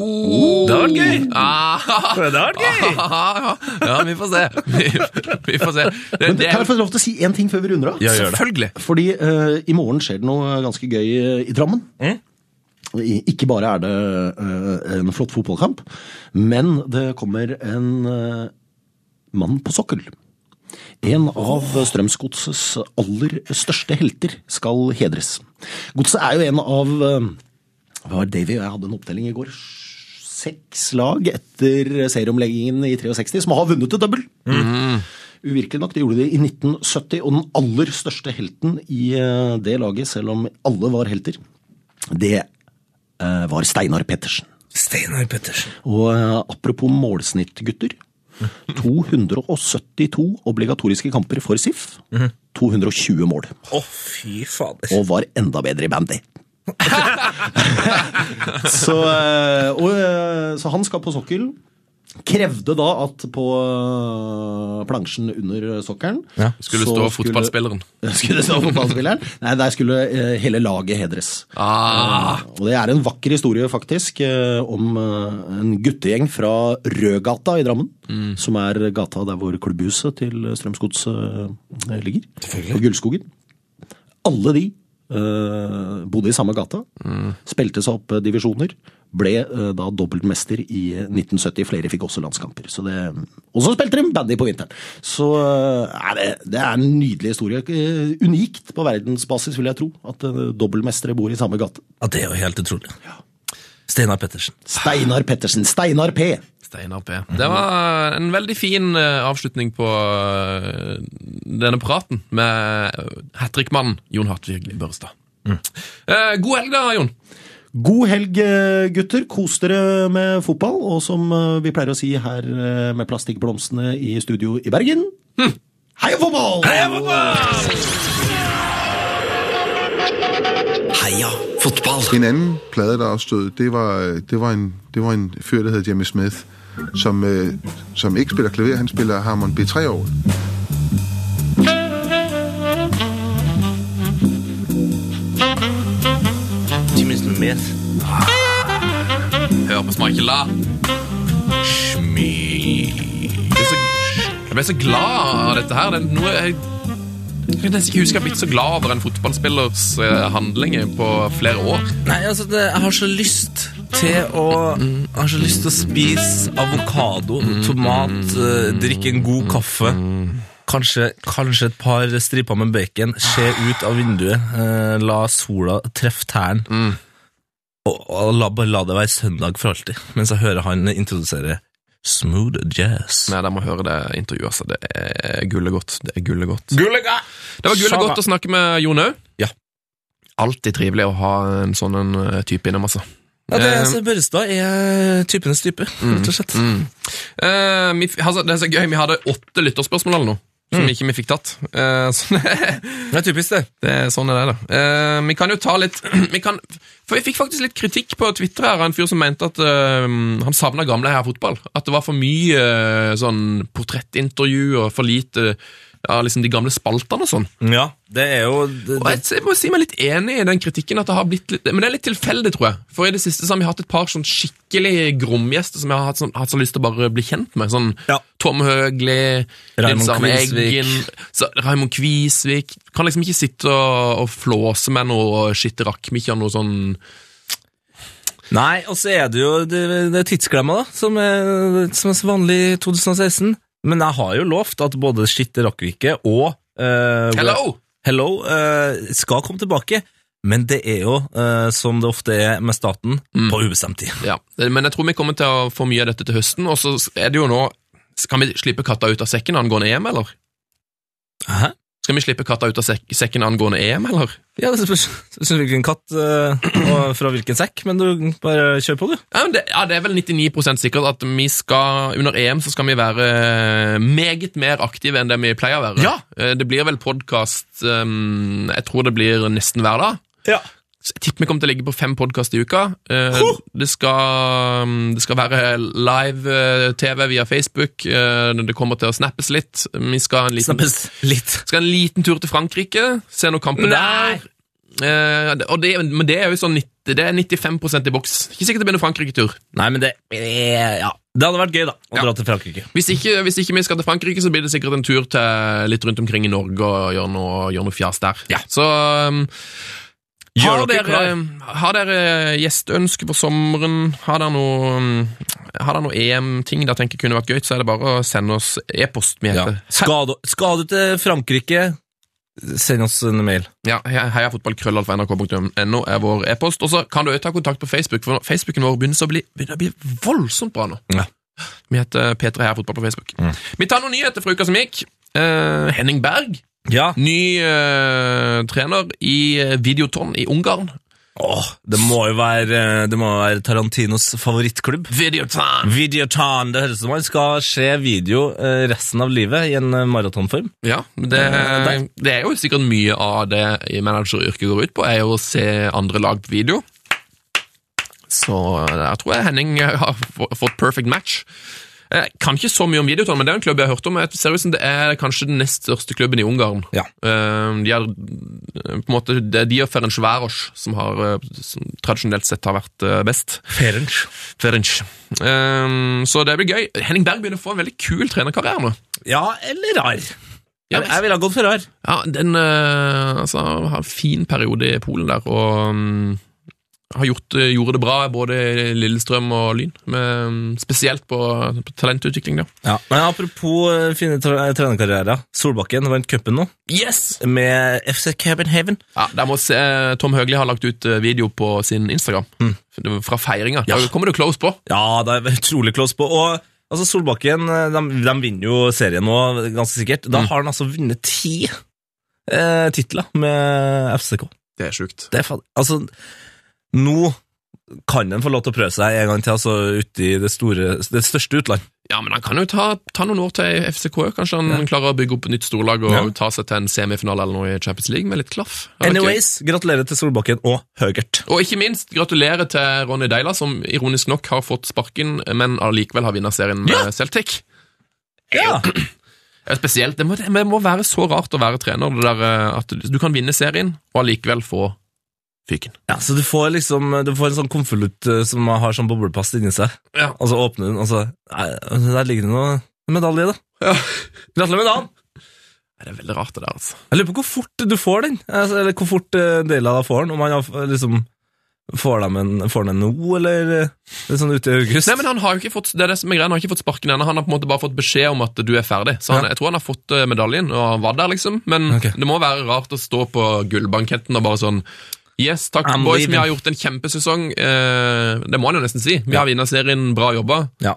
hadde vært gøy! Ah, Det hadde vært gøy! ja, vi får se. Vi, vi får se. Det, Men det kan er, jeg få lov til å si én ting før vi runder av? Ja, gjør det. selvfølgelig. Fordi eh, i morgen skjer det noe ganske gøy eh, i Drammen. Mm. I- Ikke bare er det eh, en flott fotballkamp, men det kommer en eh, mann på sokkel. En av Strømsgodsets aller største helter skal hedres. Godset er jo en av eh, Hva var Davy og jeg hadde en opptelling i går? Seks lag etter serieomleggingen i 63 som har vunnet et double. Uvirkelig nok, det gjorde de i 1970, og den aller største helten i eh, det laget, selv om alle var helter, det eh, var Steinar Pettersen. Steinar Pettersen. Og eh, apropos målsnitt, gutter. 272 obligatoriske kamper for SIF. 220 mål. Å, fy fader. Og var enda bedre i bandy. så, eh, og, eh, så han skal på sokkel. Krevde da at på eh, plansjen under sokkelen Ja, Skulle så stå fotballspilleren. Skulle det stå fotballspilleren? Nei, der skulle eh, hele laget hedres. Ah, Og det er en vakker historie, faktisk, eh, om eh, en guttegjeng fra Rødgata i Drammen. Som er gata der hvor klubbhuset til Strømsgodset eh, ligger. På Gullskogen. Alle de eh, bodde i samme gata. Spilte seg opp eh, divisjoner. Ble eh, da dobbeltmester i eh, 1970. Flere fikk også landskamper. Så det, og så spilte de bandy på vinteren. Så eh, er det, det er en nydelig historie. Eh, unikt på verdensbasis, vil jeg tro. At eh, dobbeltmestere bor i samme gate. Ja, det er jo helt utrolig. Steinar Pettersen. Steinar Pettersen. Steinar P. Steinar P. Det var en veldig fin eh, avslutning på eh, denne praten med hat trick-mannen Jon Hartvig Børrestad. Eh, god helg, da, Jon. God helg, eh, gutter. Kos dere med fotball. Og som eh, vi pleier å si her eh, med plastikkblomstene i studio i Bergen Hm. Heia fotball! Heia fotball! Heia fotball! En anden plade, der også stod, det var, øh, det var, en, det var en fyr, der hed Jimmy Smith, som, øh, som ikke spiller klaver, han spiller Harmon b 3 år. Jimmy Smith. Hør på Michael La. Schmi. Jeg, er så, jeg ble så glad av dette her. Det er noe jeg, jeg kan nesten ikke huske jeg har blitt så glad over en fotballspillers eh, handlinger på flere år. Nei, altså, det, jeg har så lyst til å Jeg har så lyst til å spise avokado, Mm, tomat, eh, drikke en god kaffe. Kanskje, kanskje et par striper med bacon. Se ut av vinduet, eh, la sola treffe tærne. Mm. Og, og la, bare la det være søndag for alltid, mens jeg hører han introdusere smooth jazz. Nei, der må jeg høre det intervjuet, altså. Det er gullegodt. Det er gullegodt. Det var gullegodt å snakke med Jon Au. Ja. Alltid trivelig å ha en sånn en eh, type innom, altså. Ja, det, Eh, Mm, altså, Børrestad er typenes type, rett og slett. Eh, vi, f- altså, det er så gøy, vi hadde åtte lytterspørsmål eller noe, som ikke vi fikk tatt. Eh, så Mm. Det er typisk, det. det, er- sånn er det, da. Eh, vi kan jo ta litt vi kan, For vi fikk faktisk litt kritikk på Twitter her, av en fyr som mente at eh, han savna gamle her fotball. At det var for mye eh, sånn portrettintervju og for lite av liksom de gamle spaltene og sånn. Ja, det er jo det, Og jeg, jeg må si meg litt enig i den kritikken at det har blitt litt, men det er litt tilfeldig, tror jeg. For i det siste så har vi hatt et par sånn skikkelig gromgjester som jeg har hatt, sånn, hatt så lyst til å bare bli kjent med. Sånn Ja. Tom Høgli, Raymond Nils Arne Kvisvik. Eggen, så- Raymond Kvisvik. Kan liksom ikke sitte og, og flåse med noe shit rakk vi ikke har noe sånn Nei, og så er det jo det, det er tidsklemma, da, som er, som er så vanlig i 2016. Men jeg har jo lovt at både Skitte Rakkvike og eh, Hello! Hello eh, skal komme tilbake. Men det er jo, eh, som det ofte er med staten, på ubestemt tid. Ja, men jeg tror vi kommer til å få mye av dette til høsten, og så er det jo nå Kan vi slippe katta ut av sekken angående EM, eller? Hæ? Skal vi slippe katta ut av sek sekken angående EM, eller? Ja, det spørs det spørs hvilken katt eh, og fra hvilken sekk, men du bare kjør på, du. Ja, men det, ja, det er vel 99 sikkert at vi skal, under EM så skal vi være eh, meget mer aktive enn det vi pleier å være. Ja. Eh, Det blir vel podkast Jeg tror det blir nesten hver dag. Ja. Så Jeg tipper vi kommer til å ligge på fem podkast i uka. Eh, Det skal, mm, det skal være live-TV via Facebook. eh, Det kommer til å snappes litt. Vi skal ha en liten Snappes litt. skal en liten tur til Frankrike, se noen kamper der. Eh, og det, men det er jo sånn 90, det er 95 i boks. Ikke sikkert det blir noen Frankrike-tur. Nei, men det eh, Ja. Det hadde vært gøy, da, å Ja. dra til Frankrike. Hvis ikke, hvis ikke vi skal til Frankrike, så blir det sikkert en tur til litt rundt omkring i Norge og gjøre noe, gjøre noe fjas der. Ja. Så um, Gjør har, dere dere, um, har dere gjesteønske for sommeren? Har dere noe, um, har dere noe EM-ting dere tenker kunne vært gøy, så er det bare å sende oss e-post. Vi heter Skal, du, skal du til Frankrike, send oss en mail. Ja, heiafotballkrøllalfa.nrk.no er vår e-post. Og så kan du også ta kontakt på Facebook, for Facebooken vår begynner, så å bli, begynner å bli voldsomt bra nå. Ja. Vi heter P3 Heia Fotball på Facebook. Mm. Vi tar noen nyheter fra uka som gikk. Eh, Henning Berg, Ja. ny eh, trener i eh, Videoton i Ungarn. Åh, det må jo være, det må være Tarantinos favorittklubb. Videoton! Videotan, det høres ut som man skal se video eh, resten av livet i en eh, maratonform. Ja, men det, Eh, det er jo sikkert mye av det i manageryrket går ut på, er jo å se andre lag på video. Så der tror jeg Henning eh, har få- fått perfect match. Eh, Kan ikke så mye om Videoton, men det er en klubb jeg har hørt om. Jeg- Seriøst, det er kanskje den nest største klubben i Ungarn. Ja. Eh, De er, eh, på en måte, det er de og Ferencvaros som, har, eh, som tradisjonelt sett har vært eh, best. Ferenc. Ferenc. Eh, Så det blir gøy. Henning Berg begynner å få en veldig kul trenerkarriere nå. Ja, eller rar. Ja, Jeg, jeg ville ha gått for rar. Ja, den eh, altså, har en fin periode i Polen der, og mm, har gjort, eh, gjorde det bra både i Lillestrøm og Lyn, med, mm, spesielt på, på talentutvikling. Da. Men apropos eh, fine tre- trenerkarrierer. Solbakken vant cupen nå, Yes! med FC Copenhagen. Ja, der må se, eh, Tom Høgli har lagt ut eh, video på sin Instagram Det var fra feiringa. Ja. Da kommer du close på. Ja, det er utrolig close på. Og altså, Solbakken eh, de, de vinner jo serien nå, ganske sikkert. Da har han altså vunnet ti eh, titler med FCK. Det er sjukt. Det er faen... Altså, nå kan han få lov til å prøve seg en gang til, altså ute i det, store, det største utland. Ja, men han kan jo ta, ta noen år til i FCK. òg. Kanskje han klarer å bygge opp et nytt storlag og Ja. ta seg til en semifinale eller noe i Champions League med litt klaff. Det er gøy. Anyways, gratulerer til Solbakken og Høgert. Og ikke minst, gratulerer til Ronny Deila, som ironisk nok har fått sparken, men allikevel har vunnet serien med Celtic. Ja! Det er Spesielt, det må, det må være så rart å være trener, det der eh, at du kan vinne serien og allikevel få fyken. ja! Så du får liksom Du får en sånn konvolutt eh, som har sånn bobleplast inni seg, Ja. og så åpner den, og så nei, altså, Der ligger det noe medalje, i, da. Gratulerer med dagen! Nei, Det er veldig rart det der, altså. Jeg lurer på hvor fort du får den, altså, eller hvor fort eh, Deila da får den. Om han har, eh, liksom Får de en- får den en nå, eller eh, liksom ute i august? Nei, men han har jo ikke fått, det er det som er greia, han har ikke fått sparken ennå. Han har på en måte bare fått beskjed om at du er ferdig. Så han, Ja. jeg tror han har fått eh, medaljen og han var der, liksom. Men Ok. det må være rart å stå på gullbanketten og bare sånn Yes, takk I'm boys, leaving. vi har gjort en kjempesesong. Eh, det må han jo nesten si. Vi har vunnet serien, bra jobba. Ja.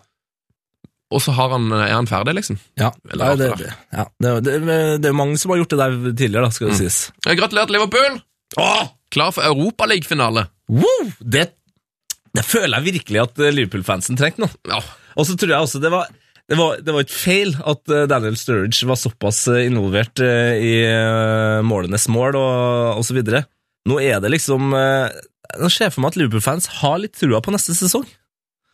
Og så har han, er han ferdig, liksom. Ja, Veldig Nei, rart, det, det det, ja. Det, det, det er mange som har gjort det der tidligere, da, skal det sies. Eh, Gratulerer til Liverpool! Klar for Europaliga-finale. Wow, det, det føler jeg virkelig at eh, Liverpool-fansen trengte nå. Ja. Og så tror jeg også det var det var, det var et feil at eh, Daniel Sturridge var såpass eh, involvert eh, i eh, målenes mål og, og så videre. Nå er det liksom eh, Nå ser jeg for meg at Liverpool-fans har litt trua på neste sesong.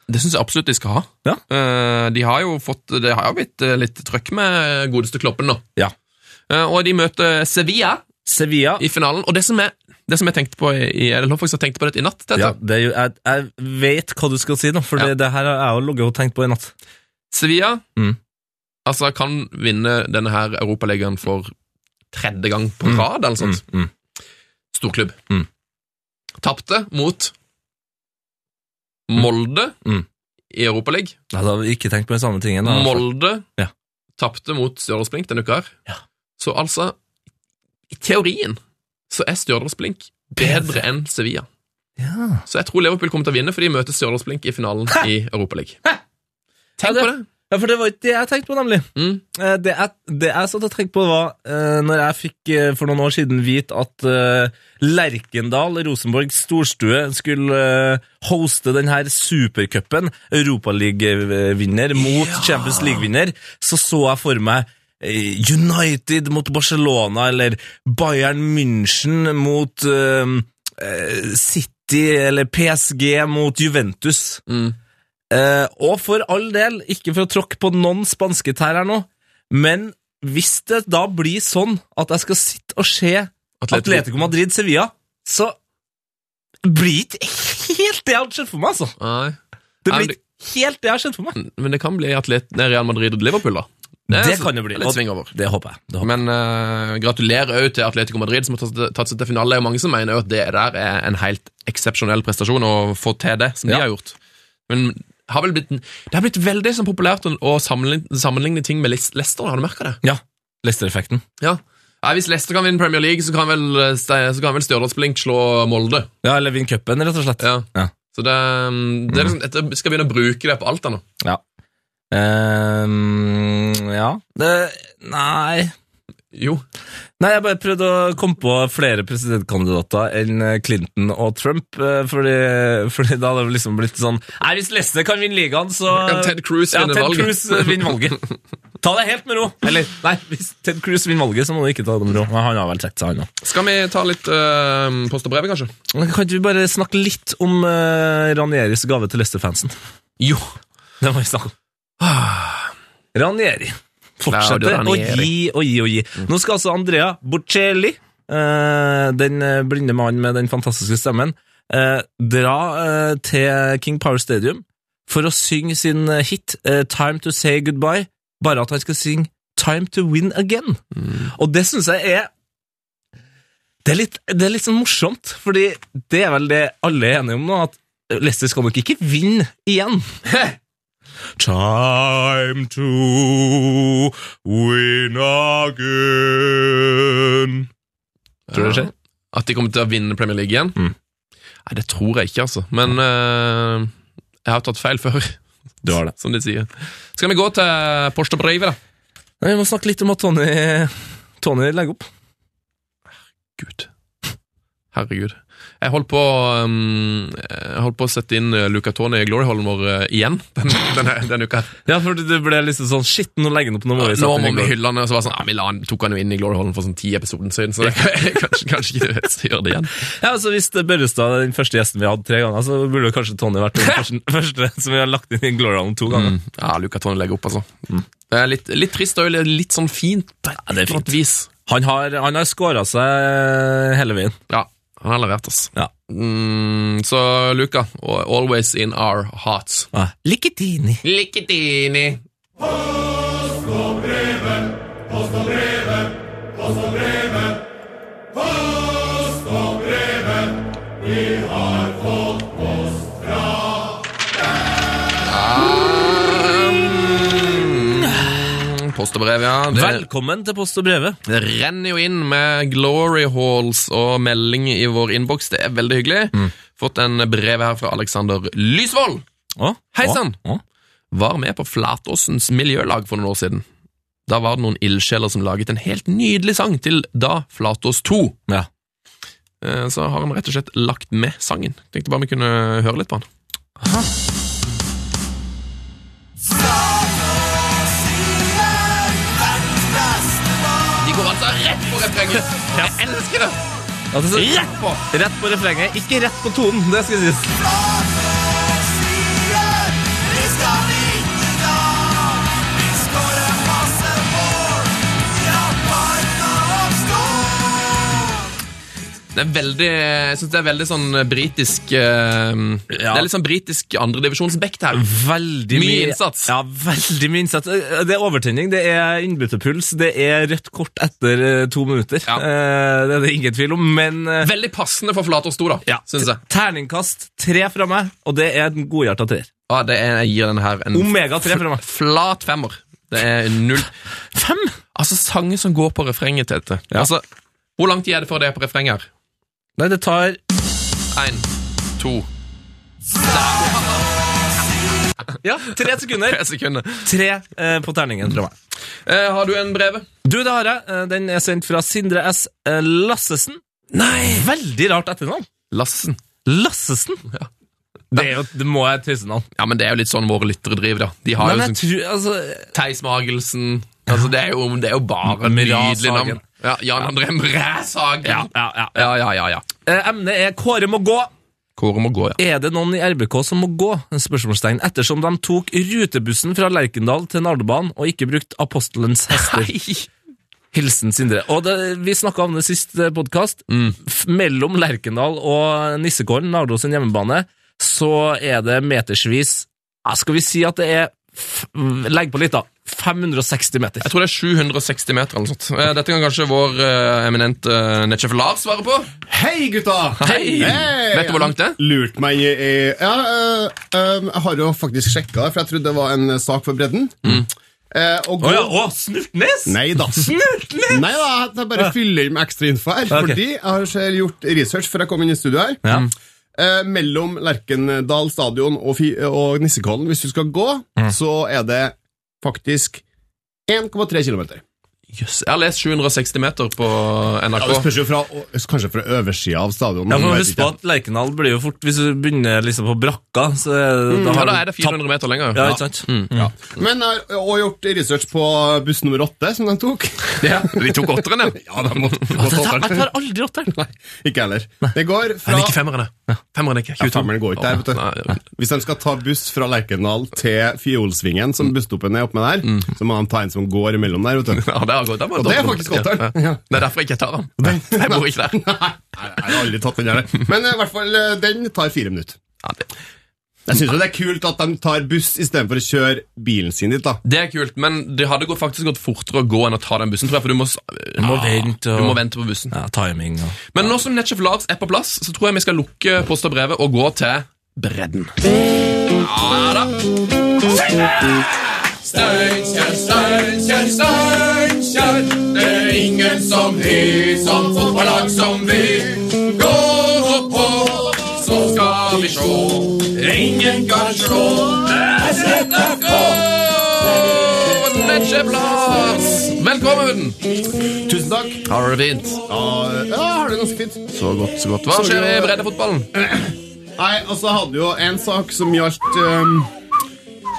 Det syns jeg absolutt de skal ha. Ja. Eh, de har jo fått Det har jo blitt eh, litt trøkk med godeste kloppen nå. Ja. Eh, og de møter Sevilla Sevilla i finalen. Og det som jeg, det som jeg tenkte på i, i- eller faktisk har tenkt på det i natt, Tete. ja, det er jo, jeg, jeg vet hva du skal si nå, for Ja. det, det her har jeg jo ligget og tenkt på i natt. Sevilla Mm. altså kan vinne denne her Europaligaen for tredje gang på rad, eller sånt. Mm, mm. Storklubb. Mm. Tapte mot Molde Mm. i Europaligaen. Jeg hadde ikke tenkt på den samme tingen. da. Molde altså. Ja. tapte mot Stjørdals Blink denne uka her. Ja. Så altså, i teorien så er Stjørdals Blink bedre enn Sevilla. Ja. Så jeg tror Liverpool kommer til å vinne, for de møter Stjørdals Blink i finalen i Europaligaen. Tenk Ja, på det- det! Ja, for det var ikke det jeg tenkte på, nemlig. Mm. Eh, Det jeg, det jeg satt og tenkte på, var eh, når jeg fikk eh, for noen år siden vite at eh, Lerkendal, Rosenborgs storstue, skulle eh, hoste denne supercupen, Europaliga-vinner mot Champions League-vinner, så så jeg for meg eh, United mot Barcelona, eller Bayern München mot eh, eh, City, eller PSG mot Juventus. Mm. Eh, og for all del, ikke for å tråkke på noen spanske tær her nå, men hvis det da blir sånn at jeg skal sitte og se Atletico. Atletico Madrid-Sevilla, så blir det ikke helt det jeg hadde sett for meg, altså. Nei. Det Nei, men blir ikke helt det jeg har sett for meg. Men det kan bli atlet nei, Real Madrid og Liverpool, da. Det kan det bli. Litt sving over. Det håper jeg. Det håper jeg. Men eh, gratulerer òg til Atletico Madrid, som har tatt- tatt seg til finale. Det er jo mange som mener jo at det der er en helt eksepsjonell prestasjon å få til det, som Ja. de har gjort. Men har vel blitt, det har blitt veldig sånn populært å- å sammenligne, sammenligne ting med Leis- Leicester. Har du merka det? Ja. Leicester-effekten. Ja. Nei, hvis Leicester kan vinne Premier League, så kan vel, eh, Ste- så kan vel Stjørdals Blink slå Molde. Ja, eller vinn cupen, rett og slett. Ja. Ja. Så det, det er liksom, jeg skal begynne å bruke det på alt. da nå. Ehm, ja. Det, nei Jo. Nei, jeg bare prøvde å komme på flere presidentkandidater enn eh, Clinton og Trump, eh, fordi, fordi da hadde det liksom blitt sånn Nei, hvis Leste kan vinne ligaen, så Kan Ted Cruz Ja, vinne Ted valget? Cruz, eh, vinner valget. Ta det helt med ro. Eller, nei, hvis Ted Cruz vinner valget, så må du ikke ta det med ro. Men han har vel trukket seg, han òg. Skal vi ta litt eh, post og brev, kanskje? Kan ikke vi bare snakke litt om eh, Ranieris gave til Leste-fansen? Jo. Det må vi snakke om. Ah, Ranieri. Claudio Fortsetter å Ranieri. gi og gi og gi. Nå skal altså Andrea Bocelli, eh, den eh, blinde mannen med den fantastiske stemmen, eh, dra eh, til King Power Stadium for å synge sin eh, hit eh, Time to Say Goodbye, bare at han skal synge Time to Win Again. Og det syns jeg er det er, litt, det er litt sånn morsomt, fordi det er vel det alle er enige om nå, at Leicester skal nok ikke vinne igjen. Time to win again. Tror du det skjer? At de kommer til å vinne Premier League igjen? Mm. Nei, det tror jeg ikke, altså. Men eh, jeg har tatt feil før, Du har det. som de sier. Skal vi gå til post og brev, da? Nei, vi må snakke litt om at Tony, Tony legger opp. Gud. Herregud. Jeg holdt på, um, jeg holdt på å sette inn eh, Luca Tone i Glory Holm vår eh, igjen denne, denne, denne uka. her. Ja, for det ble liksom sånn Shit, nå legger den opp. Nå må vi Nå sette må den i vi går. hylle han, og så var det sånn, ja, vi la han, tok han jo inn i Glory Holm for sånn ti episoder siden, så det, kanskje, kanskje ikke det beste å gjøre det igjen. Ja, altså Hvis det Børrestad er den første gjesten vi hadde tre ganger, så burde jo kanskje Tony vært den første, første som vi har lagt inn i Gloria om to ganger. Ja, Luca Tone legger opp, altså. Det er litt, litt trist og litt sånn fint på et Mm. det er eller fint. annet vis. Han har, han har scora seg hele veien. Ja, han har levert, ass. Ja. Mm, så Luca, always in our hearts. Ah. Liketini. Lykke til, Ni. Ah, mm, Post og brev, ja. Det- Velkommen til Post og brevet. det renner jo inn med glory halls og melding i vår innboks. Det er veldig hyggelig. Mm. Fått en brev her fra Alexander Lysvold. Å, Hei sann! å, å. Var med på Flatåsens miljølag for noen år siden. Da var det noen ildsjeler som laget en helt nydelig sang til Da Flatås 2. Ja. Eh, Så har han rett og slett lagt med sangen. Tenkte bare vi kunne høre Eh, litt på den. De går altså rett på refrenget! Jeg elsker det! Altså, så, Rett på! rett på refrenget, ikke rett på tonen. Det skal sies. Det er veldig, jeg synes det er veldig sånn britisk eh, Det er litt sånn britisk andredivisjonsbekt her. Veldig Mye innsats. Ja, veldig mye innsats. Eh, Det er overtenning, det er innbytterpuls, det er rødt kort etter eh, to minutter. Ja. Eh, Det er det ingen tvil om, men eh, Veldig passende for Flatås 2, da, ja, synes jeg. Terningkast tre fra meg, og det er en godhjerta treer. Ja, det er, jeg gir den her en Omega tre fra meg. flat femmer. Det er null Fem? Altså, sanger som går på refrenget, Tete. Altså, hvor lang tid er det før det er på refrenget her? Nei, det tar Én, to, Ja, tre sekunder. tre sekunder. Tre eh, på terningen fra meg. Eh, har du en brev? Du, det har jeg. Eh, Den er sendt fra Sindre S. eh, Lassesen. Nei! Veldig rart etternavn. Lassen. Lassesen? Ja. Det, er jo, det må jeg tøyse navn. Ja, men det er jo litt sånn våre lyttere driver, da. De Men har jo jeg sånn tror altså, Theis Magelsen Altså, det er jo, det er jo bare Mraz nydelig Hagen. navn. Ja, Jan André Mræs Hagen. ja, ja, ja. ja, ja, ja, ja. Eh, Emnet er Kåre må gå. Kåre må gå, ja. Er det noen i RBK som må gå? Spørsmålstegn. Ettersom de tok rutebussen fra Lerkendal til Nardebanen og ikke brukt apostelens hester. Hilsen Sindre. Og det, vi snakka om det sist podkast. Mm. Mellom Lerkendal og Nissekollen, Nardo sin hjemmebane, så er det metersvis ja, Skal vi si at det er f Legg på litt, da. 560 meter. Jeg tror det er 760 meter eller noe sånt. Eh, Dette kan kanskje vår eh, eminente eh, nettsjef Lars svare på. Hei, gutta! Hei! Vet du hvor langt det er? Lurt meg i Ja, øh, øh, jeg har jo faktisk sjekka det, for jeg trodde det var en sak for bredden. Eh, og gå- Snurtnes! Nei da. Snurtnes! Nei da, jeg bare fyller inn med ekstra info her. Ok. Fordi jeg har selv gjort research før jeg kom inn i studio her. Ja. Eh, mellom Lerkendal stadion og, Fi- og Nissekollen, hvis du skal gå, så er det faktisk 1,3 km. Jøss, Jeg har lest 760 meter på Ja, det NRK. spørs jo fra, kanskje fra øversida av stadionet. Ja, men for jeg vet Husk ikke. på at Lerkendal blir jo fort Hvis du begynner liksom på brakka, så er det, Ja, har da du er det tapt- 400 meter lenger. Ja, ikke sant? Ja. Men jeg har også gjort research på buss nummer åtte, som de tok. Ja. De tok åtteren, ja. Ja, de må, må Jeg ta tar, jeg den. tar aldri åtteren. Ikke heller. Det går fra Men ikke femmerne. Femmerne ikke. ja, femmeren går ikke der, vet du. Nei, Hvis de skal ta buss fra Lerkendal til Fiolsvingen, Mm. som busstoppen er oppe med der, så må de ta en som går imellom der, vet du. Ja, det har gått. Der var Og det er faktisk åtteren. Ja. Det er derfor jeg ikke tar den. Jeg bor ikke der. Nei, jeg har aldri tatt den der. Men eh, i hvert fall, eh, den tar fire minutter. Ja, det, Jeg syns jo det er kult at de tar buss istedenfor å kjøre bilen sin dit, da. det er kult, men det hadde gått, faktisk gått fortere å gå enn å ta den bussen, tror jeg, for du må, s- må vente og- du må vente på bussen. Ja, timing og Men nå som Netchef Lars er på plass, så tror jeg vi skal lukke post og brevet og gå til bredden. Ja da. Steinkjer, Steinkjer, Steinkjer. Det er ingen som vi, som fotballag som vi. Går opp på, så skal vi sjå. Ingen kan sjå. SFK! Netchef Lars! Velkommen! på med den! Tusen takk. Har du det fint? Ja, ja, har det ganske fint. Så godt, så godt. Hva skjer i breddefotballen? Nei, og så hadde vi jo en sak som gjaldt um,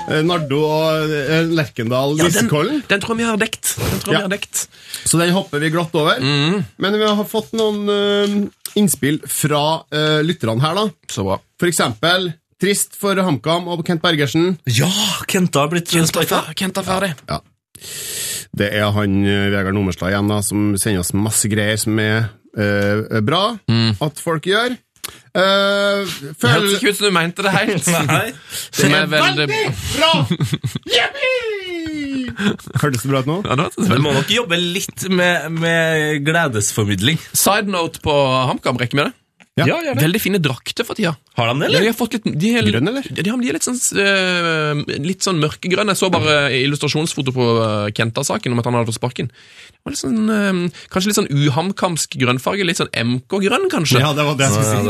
eh, Nardo og eh, Lerkendal Nissekollen. den tror jeg vi har dekt. Den tror jeg Ja. vi har dekt. Så den hopper vi glatt over. Men vi har fått noen um, innspill fra eh, lytterne her, da. Så bra. For eksempel Trist for HamKam og Kent Bergersen. Ja, Kenta har blitt sparka. Kent er ferdig. Det er han eh, Vegard Nummerstad igjen da, som sender oss masse greier som er eh, bra at folk gjør. Eh, Det føl... hørtes ikke ut som du mente det helt. Nei. Som er veldig... bra! Jippi! Hørtes det bra ut nå? Ja, det hørtes Du veldig... må nok jobbe litt med, med gledesformidling. Side note på HamKam, rekker vi det? Ja. gjør det. Veldig fine drakter for tida. Har han det, Ja, eller? de har fått litt de er, Grønn, eller? Ja, de, har, de er litt sånn, eh, litt sånn mørkegrønne. Jeg så bare illustrasjonsfoto på eh, Kenta-saken om at han hadde fått sparken. Det var litt sånn, eh, kanskje litt sånn uhamkamsk grønnfarge. Litt sånn MK-grønn, kanskje. Ja, det var det jeg skulle si.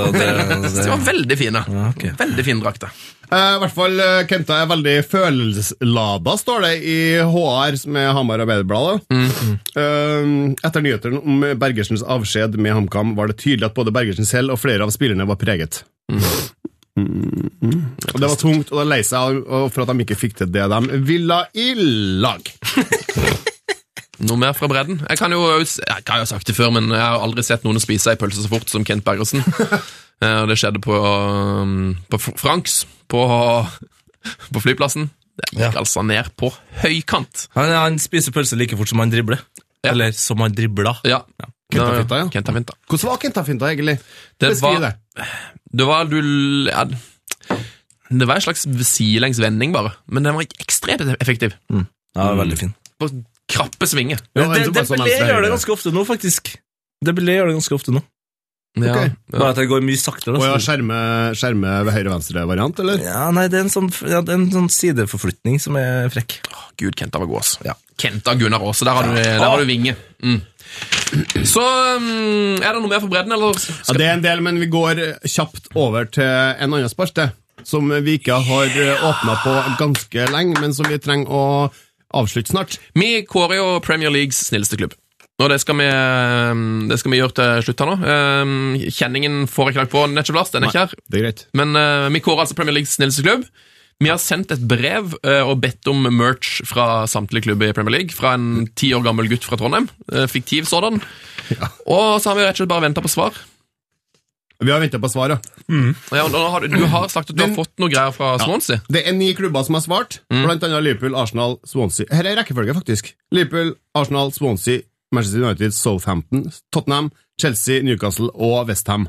Ja, det- det- De var veldig fine. ok. Veldig fine drakter. Eh, I hvert fall eh, Kenta er veldig følelseslada, står det i HR, som er Hamar Arbeiderblad. da. Eh, etter nyhetene om Bergersens avskjed med HamKam var det tydelig at både Bergersen selv og flere av spillerne var preget. Mm. Og det var tungt, og da lei seg av- og for at de ikke fikk til det de ville i lag. Noe mer fra bredden? Jeg kan jo jeg kan jo ha sagt det før, men jeg har aldri sett noen spise ei pølse så fort som Kent Bergersen. Eh, Og det skjedde på, um, på Fr- Franks, på, på flyplassen. Det gikk altså ned på høykant. Han, han spiser pølse like fort som han dribler. Ja. Eller som han dribla. Ja. Kenta Finta, ja. Kenta Finta. Hvordan var Kenta-finta, egentlig? Det Beskriv var- det. Det var du ja, Det var en slags sidelengs vending, bare. Men den var ekstremt effektiv. Ja, veldig fin. På krappe svinger. Ja, Det, en som det, bare Dembélé så gjør venstre det høyre. ganske ofte nå, faktisk. Dembélé gjør det ganske ofte nå. Ja. Ok. Bare at det går mye saktere. Å ja, da. skjerme, skjerme høyre-venstre-variant, eller? Ja, nei, det er en sånn, ja, det er en sånn sideforflytning som er frekk. Å, Gud, Kenta var god, ass. Kenta Gunnar Aase, der har du, der har du vinge. Mm. Så mm, er det noe mer for bredden, eller? Ja, det er en del, men vi går kjapt over til en annen spalte, som vi ikke har åpna på ganske lenge, men som vi trenger å avslutte snart. Vi kårer jo Premier Leagues snilleste klubb. Og det skal, vi, mm, det skal vi gjøre til slutt her nå. Um, Kjenningen får jeg ikke lagt på nettopp, Lars. Den er ikke her. Det er greit. Men eh, vi kårer altså Premier Leagues snilleste klubb. Vi har sendt et brev eh, og bedt om merch fra samtlige klubber i Premier League. Fra en ti år gammel gutt fra Trondheim. Eh, fiktiv sådan. Og så har vi rett og slett bare venta på svar. Vi har venta på svar, ja. Ja, og nå har du, du har sagt at du har fått noe greier fra Swansea. Det er ni klubber som har svart, blant annet Liverpool, Arsenal, Swansea. Her er rekkefølge, faktisk. Liverpool, Arsenal, Swansea, Manchester United, Southampton, Tottenham, Chelsea, Newcastle og Westham.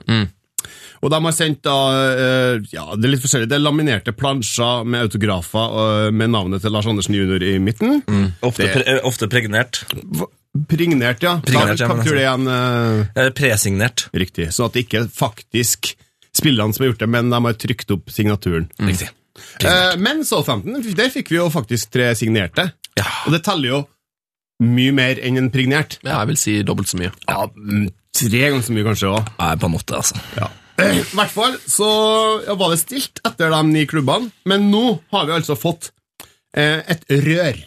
Og de har sendt da, eh, ja, det er litt forskjellig, det er laminerte plansjer med autografer eh, med navnet til Lars Andersen jr. i midten. Ofte, Det- pre, eh, ofte pregnert. V- Prignert, ja. Prignert, da ja, men kaptur det igjen eh, Eller presignert. riktig. Sånn at det ikke er faktisk spillerne som har gjort det, men de har trykt opp signaturen. Riktig. Eh, men Southampton, der fikk vi jo faktisk tre signerte. Ja. Og det teller jo mye mer enn en prignert. Ja, jeg vil si dobbelt så mye. Ja, mm, Tre ganger så mye, kanskje. Også. Nei, på en måte, altså. I hvert fall så ja, var det stilt etter de ni klubbene, men nå har vi altså fått eh, et rør.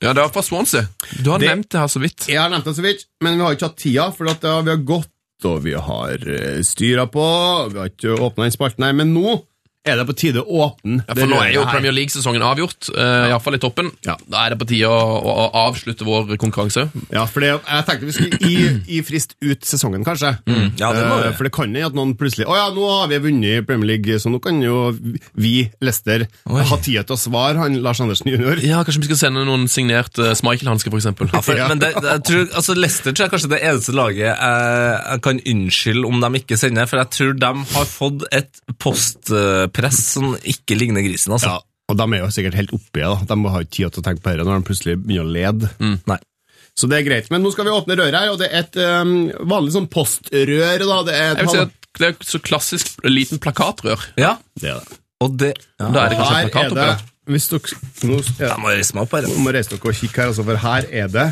Ja, det var fra Swansea. Du har Det- nevnt det her så vidt. Jeg har nevnt det så vidt, men vi har ikke hatt tida, for at ja, vi har gått, og vi har eh, styra på, vi har ikke åpna den spalten her, men nå er det på tide å åpne Ja, for nå er jo røret her. Premier League-sesongen avgjort, uh, iallfall i toppen. Ja. Da er det på tide å, å, å avslutte vår konkurranse. Ja, for det, jeg tenkte vi skulle i, i frist ut sesongen, kanskje. Mm. Ja, det må Eh, vi. For det kan jo at noen plutselig Å ja, nå har vi vunnet Premier League, så nå kan jo vi, Lester, Oi. ha tida til å svare, han Lars Andersen jr. Ja, Kanskje vi skal sende noen eh, signerte Schmeichel-hansker, f.eks. For, Ja. Men det, det- jeg tror, altså Leicester tror jeg kanskje er det eneste laget jeg, jeg kan unnskylde om de ikke sender, for jeg tror de har fått et postpress som ikke ligner grisen, altså. Ja, og de er jo sikkert helt oppi det. da. De har ikke tid til å tenke på dette når de plutselig begynner å lede. Mm. Nei. Så det er greit. Men nå skal vi åpne røret her, og det er et eh, vanlig sånn postrør. da. Det er, Jeg vil si at det er så klassisk liten plakatrør. Ja, det er det. og det ja. Da er det kanskje en Her plakat er oppi det der. Hvis dere, nå, ja, Jeg må reise meg opp her. nå må reise dere og kikke her, altså, for her er det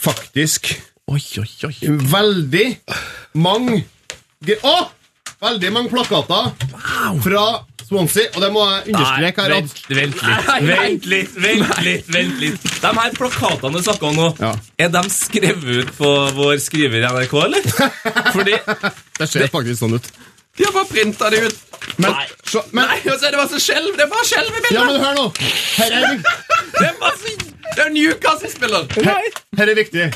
faktisk Oi, oi, oi. veldig mange gre- Å! Veldig mange plakater fra Swansea, og det må jeg understreke her at vent, vent litt, vent litt, vent litt, vent litt. De her plakatene du snakket om nå, Ja. er de skrevet ut på vår skriver i NRK, eller? Fordi, Det ser faktisk sånn ut. De har bare printa det ut. Men, så, men, Nei, altså, og så er det bare så skjelv. Det er bare skjelv i bildet. ja, men hør nå! Her er, vik- Det er bare så... Det er en Newcastle-spiller. her er viktig.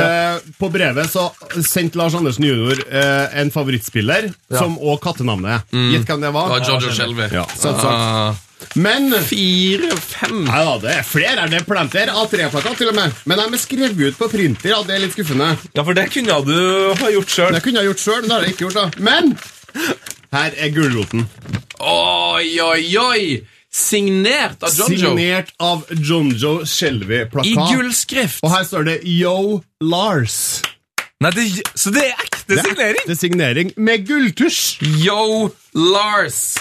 Eh, på brevet så sendte Lars Andersen jr. Eh, en favorittspiller som òg kattenavnet. Gitt hvem det var? Og Jojo Shelby. Ja, sant, sant. Men Fire-fem. Nei da, det er flere. er Det plent der. A3-plakat, til og med. Men de er skrevet ut på printer. Ja, det er litt skuffende. ja, for det kunne du ha gjort selv. Det kunne jeg gjort sjøl, men det har jeg ikke gjort. da Men her er gulroten. Oi, oi, oi. Signert av Jojo. Signert av Jonjo Shelby-plakat. I gullskrift. Og her står det Yo Lars. Nei, det, så det er ekte signering? Det er signering med gulltusj. Yo, Lars.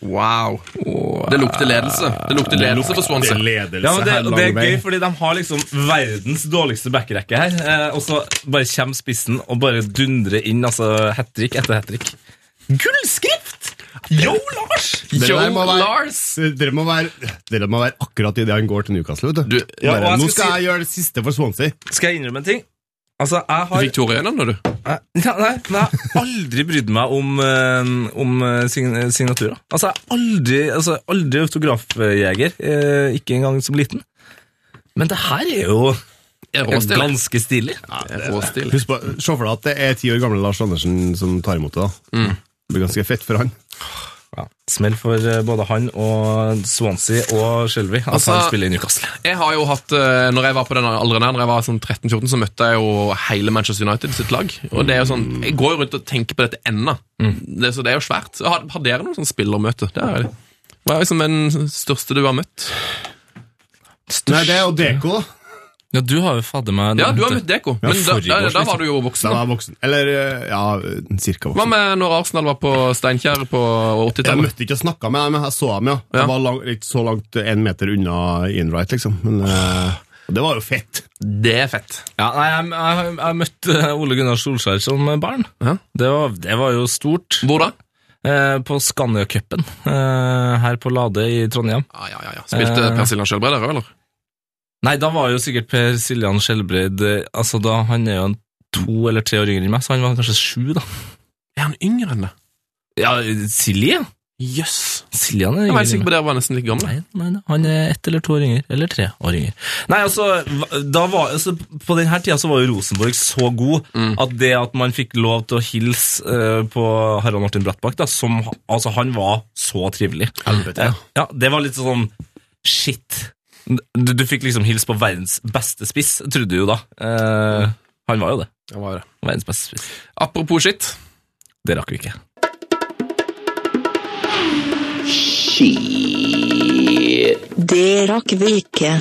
Wow. Det lukter ledelse. Det lukter ledelse for Det Swansea. er ledelse Ja, men det, her og det er lang vei. gøy, fordi de har liksom verdens dårligste backrekke her. Eh, og så bare kommer spissen og bare dundrer inn altså hat trick etter hat trick. Gullskrift! Yo, Lars! Dere Yo, der må være- Lars. Dere må være, dere må være akkurat idet han går til Newcastle. Vet du. Du- Ja, og Bare, jeg nå skal skal si- jeg gjøre det siste for Swansea. Skal jeg innrømme en ting? Altså, jeg Du har fikk Tore gjennom nå, du. Nei, nei, men jeg har aldri brydd meg om, eh, om eh, sign signaturer. Altså, jeg er aldri, altså, aldri autografjeger. Eh, ikke engang som liten. Men det her er jo Råstil. ganske stilig. Råstil. Husk på, Se for deg at det er ti år gamle Lars Andersen som tar imot det. da Mm. Det blir ganske fett for han. Ja. Smell for eh, både han og Swansea og Shelby. At Altså- han spiller i Newcastle. Jeg har jo hatt, eh, når jeg var på den alderen her, når jeg var sånn 13-14, så møtte jeg jo hele Manchester United sitt lag. Og det er jo sånn, Jeg går jo rundt og tenker på dette ennå. Det, så det er jo svært. Så Har, har dere noen sånn spillermøte? Mm. Det er det. Hva er liksom den største du har møtt? Nei, det er jo Deko, da. Ja, du har jo fadder meg Ja, liksom. du har møtt Deko, men da, forrige da, års, da var du jo Da voksen. var da. jeg voksen. Eller eh, ja, cirka Hva voksen. med når Arsenal var på Steinkjer på Jeg 80-tallet? møtte ikke og snakka med dem, men jeg så dem, ja. Ja. Jeg var lang, ikke så langt én meter unna Inright, liksom. Men eh, og det var jo fett. Det er fett. Ja, nei, jeg, jeg, jeg møtte eh, Ole Gunnar Solskjær som barn. Ja. Det, var, det var jo stort. Hvor da? Eh, på Scandia-cupen eh, her på Lade i Trondheim. Ja, ja, ja, ja. Spilte Eh. Per Siljan Skjølbred der òg, eller? Nei, da var jo sikkert Per Siljan Skjelbred eh, Altså, da, Han er jo en to eller tre år yngre enn meg, så han var kanskje sju, da. Er han yngre enn det? Ja, Silje? Jøss. Yes. Siljan er Jeg var yngre enn helt sikker meg. på det, jeg var nesten like gammel. Nei, nei, nei, han er ett eller to år yngre. Eller tre år yngre. Nei, altså, hva- da var, altså På denne tida så var jo Rosenborg så god at det at man fikk lov til å hilse eh, på Harald Martin Brattbakk, da, som Altså, han var så trivelig. Helvete. Ja, det var litt sånn Shit. Du, du fikk liksom hilse på verdens beste spiss, trodde du jo da. Eh, han var jo det. Det var det. Verdens beste spiss. Apropos skitt. Det rakk vi ikke. Det rakk vi ikke.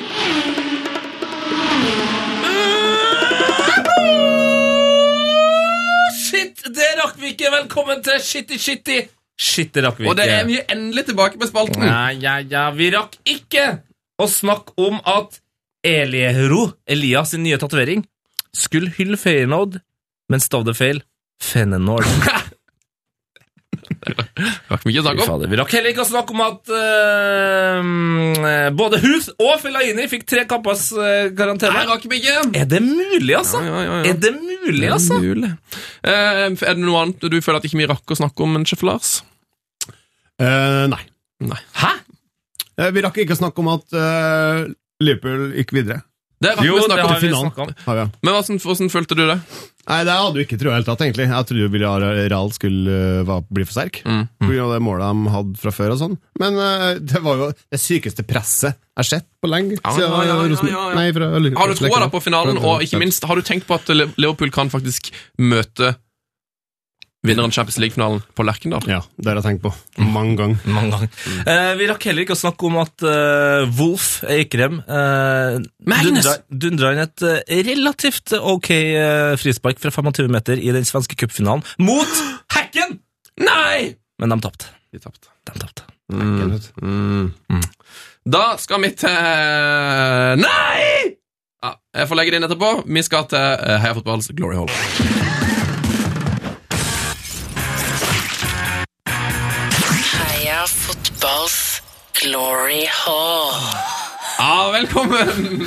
Shit, det rakk vi ikke! Velkommen til Shitty Shitty! Shit, det rakk vi Og det er ikke. vi er endelig tilbake på spalten. Ja, ja, ja, vi rakk ikke å snakke om at Eliero, Elias sin nye tatovering, skulle hylle Feyenoord, men stavde feil Fenenord. Rakk vi ikke å Fy snakke om. fader, Vi rakk heller ikke å snakke om at eh, både Hus og Fellaini fikk tre kappers eh, Nei, karantene. rakk vi ikke. Er det mulig, altså? Ja, ja, ja. Er det mulig, altså? Mulig. Eh, er det noe annet du føler at ikke vi rakk å snakke om, Chef Lars? Eh, nei. Nei. Hæ? Eh, Vi rakk ikke å snakke om at eh, Liverpool gikk videre. Det rakk Jo, vi å det snakke har om. vi finalen. snakket om. Har vi, ja. Men hvordan, hvordan følte du det? Nei, det hadde du ikke trodd i det hele tatt, egentlig. Jeg trodde jo Villarreal skulle eh, var- bli for sterk. Mm. På grunn av det målet de hadde fra før og sånn. Men eh, det var jo det sykeste presset jeg har sett på lenge. Ja, siden ja, ja, ja, Rosen- ja, ja. Nei, fra, Har du troa da på finalen, og ikke minst, har du tenkt på at Le- Liverpool kan faktisk møte vinneren Champions League-finalen på Lerkendal? Ja, det har jeg tenkt på. Mange ganger. Mange ganger. Eh, vi rakk heller ikke å snakke om at eh, Wolf Eikrem eh, Magnus! dundra- dundra inn et eh, relativt ok eh, frispark fra 25 meter i den svenske cupfinalen mot Hacken! Nei! Men de tapte. De tapte. De tapte. Da skal vi til Nei! Ja, jeg får legge det inn etterpå. Vi skal til eh, Heia Fotballs Glory Hall. Fotballs glory hall. Ja, velkommen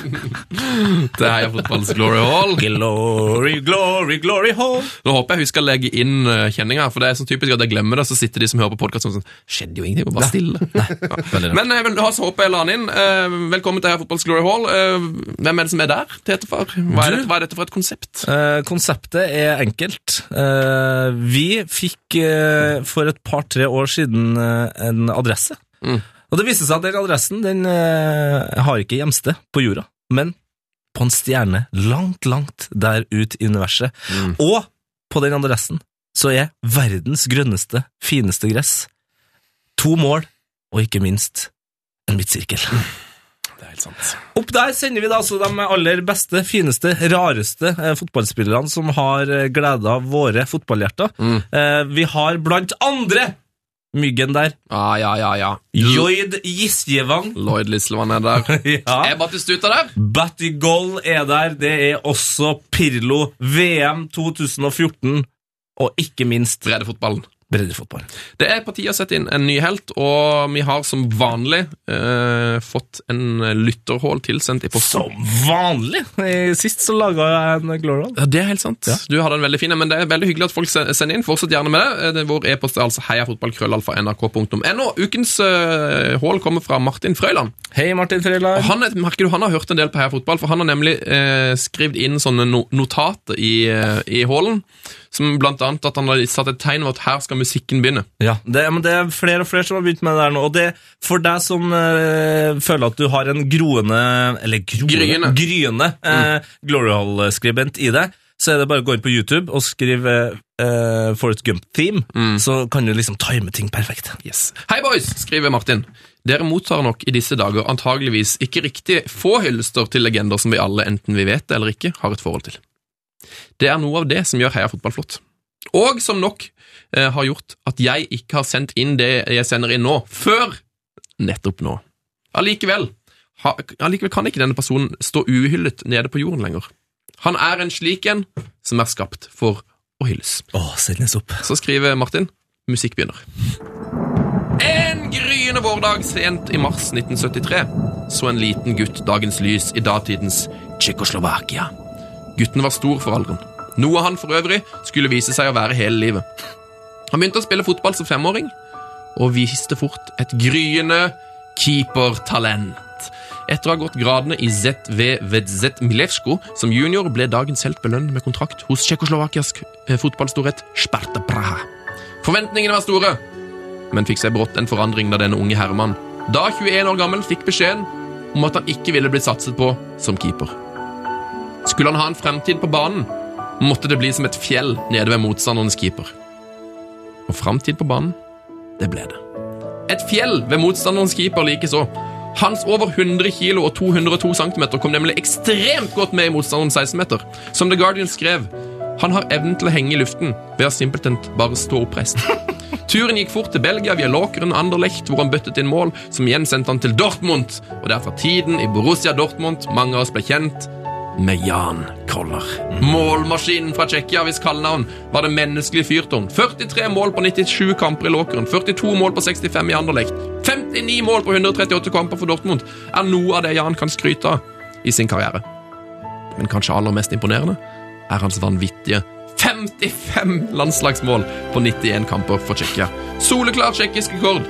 til Heia Fotballs Glory Hall. Glory, glory, glory home! Nå håper jeg hun skal legge inn eh, kjenninga, for det er sånn typisk at jeg glemmer det, så sitter de som hører på podkasten sånn Skjedde jo ingenting, det var bare stille. Ja. Men jeg vil ha så håper jeg la han inn. Eh, Velkommen til Heia Fotballs Glory Hall. Eh, Hvem er det som er der, Tetefar? Hva er Du? dette, hva er dette for et konsept? Eh, konseptet er enkelt. Eh, vi fikk eh, for et par-tre år siden eh, en adresse. Og det viste seg at den adressen den eh, har ikke hjemsted på jorda, men på en stjerne langt, langt der ut i universet. Og på den adressen så er verdens grønneste, fineste gress, to mål og ikke minst en midtsirkel. Det er helt sant. Opp der sender vi da altså de aller beste, fineste, rareste eh, fotballspillerne som har eh, glede av våre fotballhjerter. Mm. Eh, vi har blant andre myggen der. Ja, ja, ja. ja. Joid Gisjevang. Lloyd Lislevann er der. Ja. Er Battistuta der? Battigol er der. Det er også Pirlo. VM 2014. Og ikke minst Breddefotballen. breddefotball. Det er på tide å sette inn en ny helt, og vi har som vanlig eh, fått en lytterhål tilsendt i posten. Som vanlig! Eh, Sist så laga jeg en Glorion. Ja, Det er helt sant. Du hadde en veldig fin en, men det er veldig hyggelig at folk se- sender inn. Fortsett gjerne med det. Eh, det. Vår e-post er altså heiafotballkrøllalfa.nrk.no. Ukens eh, hål kommer fra Martin Frøyland. Hei, Martin Og Freiland. han, er- merker du, han har hørt en del på Heia Fotball, for han har nemlig eh, skrevet inn sånne no notater i, eh, i hålen, som blant annet at han har satt et tegn over at her skal musikken begynne. Ja, det, men det er flere og flere som har begynt med det der nå. Og det, for deg som eh, føler at du har en groende Eller groende, Gryende. gryende, eh, Glory Hall-skribent i deg, så er det bare å gå inn på YouTube og skrive eh, Forest Gump-theme, så kan du liksom time ting perfekt. Yes. Hei, boys, skriver Martin. Dere mottar nok i disse dager antageligvis ikke riktig få hyllester til legender som vi alle, enten vi vet det eller ikke, har et forhold til. Det er noe av det som gjør Heia fotball flott. Og som nok eh, har gjort at jeg ikke har sendt inn det jeg sender inn nå, før nettopp nå. Allikevel, ha, allikevel kan ikke denne personen stå uhyllet nede på jorden lenger. Han er en slik en som er skapt for å hylles. Å, sendes opp. Så skriver Martin Musikk begynner En gryende vårdag sent i mars 1973 Så en liten gutt dagens lys i datidens Tjekoslovakia Gutten var stor for alderen Noe han for øvrig skulle vise seg å være hele livet Han begynte å spille fotball som femåring Og viste fort et gryende keepertalent etter å ha gått gradene i ZV Vedzet Milevsko som junior ble dagens helt belønnet med kontrakt hos tsjekkoslovakisk eh, fotballstorhet Sparta Praha. Forventningene var store, men fikk seg brått en forandring da denne unge herremann, da 21 år gammel, fikk beskjeden om at han ikke ville bli satset på som keeper. Skulle han ha en fremtid på banen, måtte det bli som et fjell nede ved motstanderens keeper. Og fremtid på banen, det ble det. Et fjell ved motstanderens keeper likeså. Hans over 100 kilo og 202 cm kom nemlig ekstremt godt med i motstanderens 16-meter. Som The Guardian skrev, han har evnen til å henge i luften ved å simpelthen bare stå oppreist. Turen gikk fort til Belgia via Låkeren Anderlecht, hvor han bøttet inn mål, som igjen sendte han til Dortmund, og det er fra tiden i Borussia Dortmund mange av oss ble kjent med Jan Koller. Målmaskinen fra Tsjekkia, hvis kallenavn, var det menneskelige fyrtårn. 43 mål på 97 kamper i Låkeren, 42 mål på 65 i Anderlecht, 59 mål på 138 kamper for Dortmund, er noe av det Jan kan skryte av i sin karriere. Men kanskje aller mest imponerende er hans vanvittige 55 landslagsmål på 91 kamper for Tsjekkia. Soleklar tsjekkisk rekord.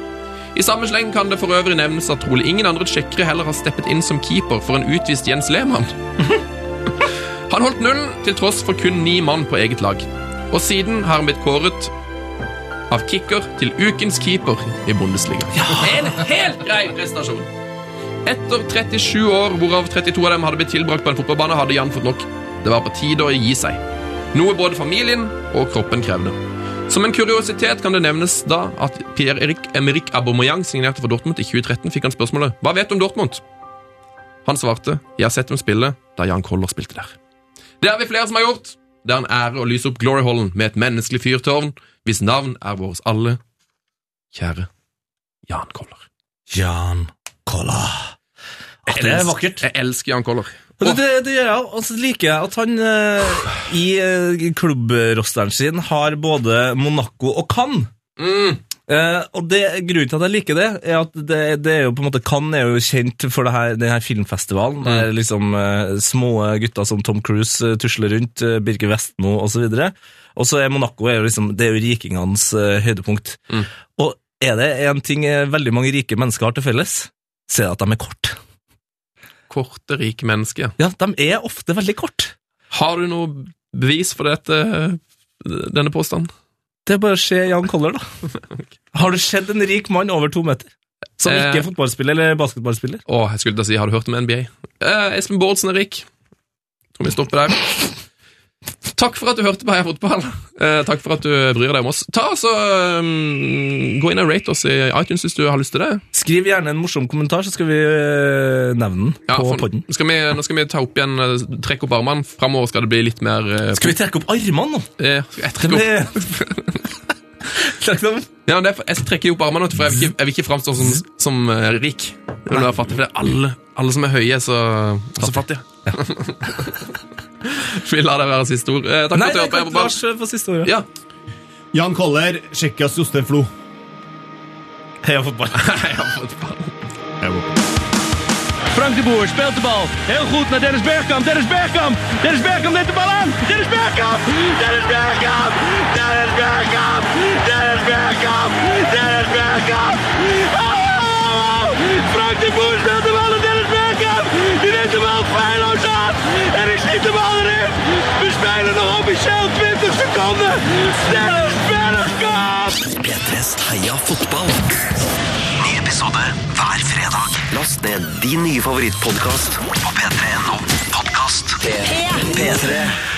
I samme sleng kan det for øvrig nevnes at trolig ingen andre tsjekkere heller har steppet inn som keeper for en utvist Jens Lehmann. Han holdt nullen til tross for kun ni mann på eget lag. Og siden har han blitt kåret av kicker til ukens keeper i Bundesliga. En helt grei prestasjon! Etter 37 år, hvorav 32 av dem hadde blitt tilbrakt på en fotballbane, hadde Jan fått nok. Det var på tide å gi seg. Noe både familien og kroppen krevde. Som en kuriositet kan det nevnes da at Pierre-Erik Emerick Aubameyang signerte for Dortmund i 2013, fikk han spørsmålet «Hva vet du om Dortmund?» Han svarte «Jeg har sett dem spille da Jan Koller spilte der». Det er vi flere som har gjort. Det er en ære å lyse opp Glory Hallen med et menneskelig fyrtårn, hvis navn er våres alle, kjære Jan Koller. Jan Kolla. Ah, det er vakkert. Jeg elsker Jan Koller. Og Det, det, det gjør jeg, og så liker jeg at han eh, i eh, klubbrosteren sin har både Monaco og Cannes. Mm. Eh, Eh, og det, grunnen til at jeg liker det, er at det, det er jo på en måte Cannes er jo kjent for det her, denne filmfestivalen. Der liksom eh, små gutter som Tom Cruise eh, tusler rundt, eh, Birger Vestmo osv. Og så er Monaco er jo liksom, det er jo rikingenes eh, høydepunkt. Og er det en ting eh, veldig mange rike mennesker har til felles, så er det at de er korte. Korte, rike mennesker. Ja, de er ofte veldig korte. Har du noe bevis for dette, eh, denne påstanden? Det er bare å se Jan Koller, da. Har du sett en rik mann over to meter? Som ikke Eh. er fotballspiller eller basketballspiller? Å, jeg skulle til å si, har du hørt om NBA? Eh, Espen Bårdsen er rik. Tror vi stopper der. Takk for at du hørte på Heia Fotball. Eh, takk for at du bryr deg om oss. Ta altså, mm, Gå inn og rate oss i iTunes hvis du har lyst til det. Skriv gjerne en morsom kommentar, så skal vi eh, nevne den Ja, på for- podden. skal vi, nå skal vi ta opp igjen, eh, trekke opp armene. Framover skal det bli litt mer eh, Skal vi trekke opp armene nå? eh, skal jeg trekke opp? Det- Trekk dem. Ja, men det er, for- jeg trekker jo opp armene, vet du, for jeg vil ikke, jeg vil ikke framstå som, som eh, rik. Jeg vil være fattig, for det er alle, alle som er høye, er så, er så fattige. vi lar det være siste ord. Eh, takk Nei, for at du det hørte på. kan Heia Fotball. Lars eh, få siste ordet. Ja. Jan Koller, Tsjekkias Jostein Flo. Heia fotball. Heia Fotball. Frank de Boer speelt de bal. Heel goed naar Dennis Bergkamp. Dennis Bergkamp. Dennis Bergkamp neemt de bal aan. Dennis Bergkamp. Dennis Bergkamp. Dennis Bergkamp. Dennis Bergkamp. Dennis Bergkamp. Oh! Frank de Boer speelt de bal naar Dennis Bergkamp. Die neemt de bal feilloos aan. En ik schiet de bal erin. We spelen nog officieel 20 seconden. Dennis Bergkamp. P3s Heia fotball. Ny episode hver fredag. Last ned din nye favorittpodkast på p3.no. Podkast P3.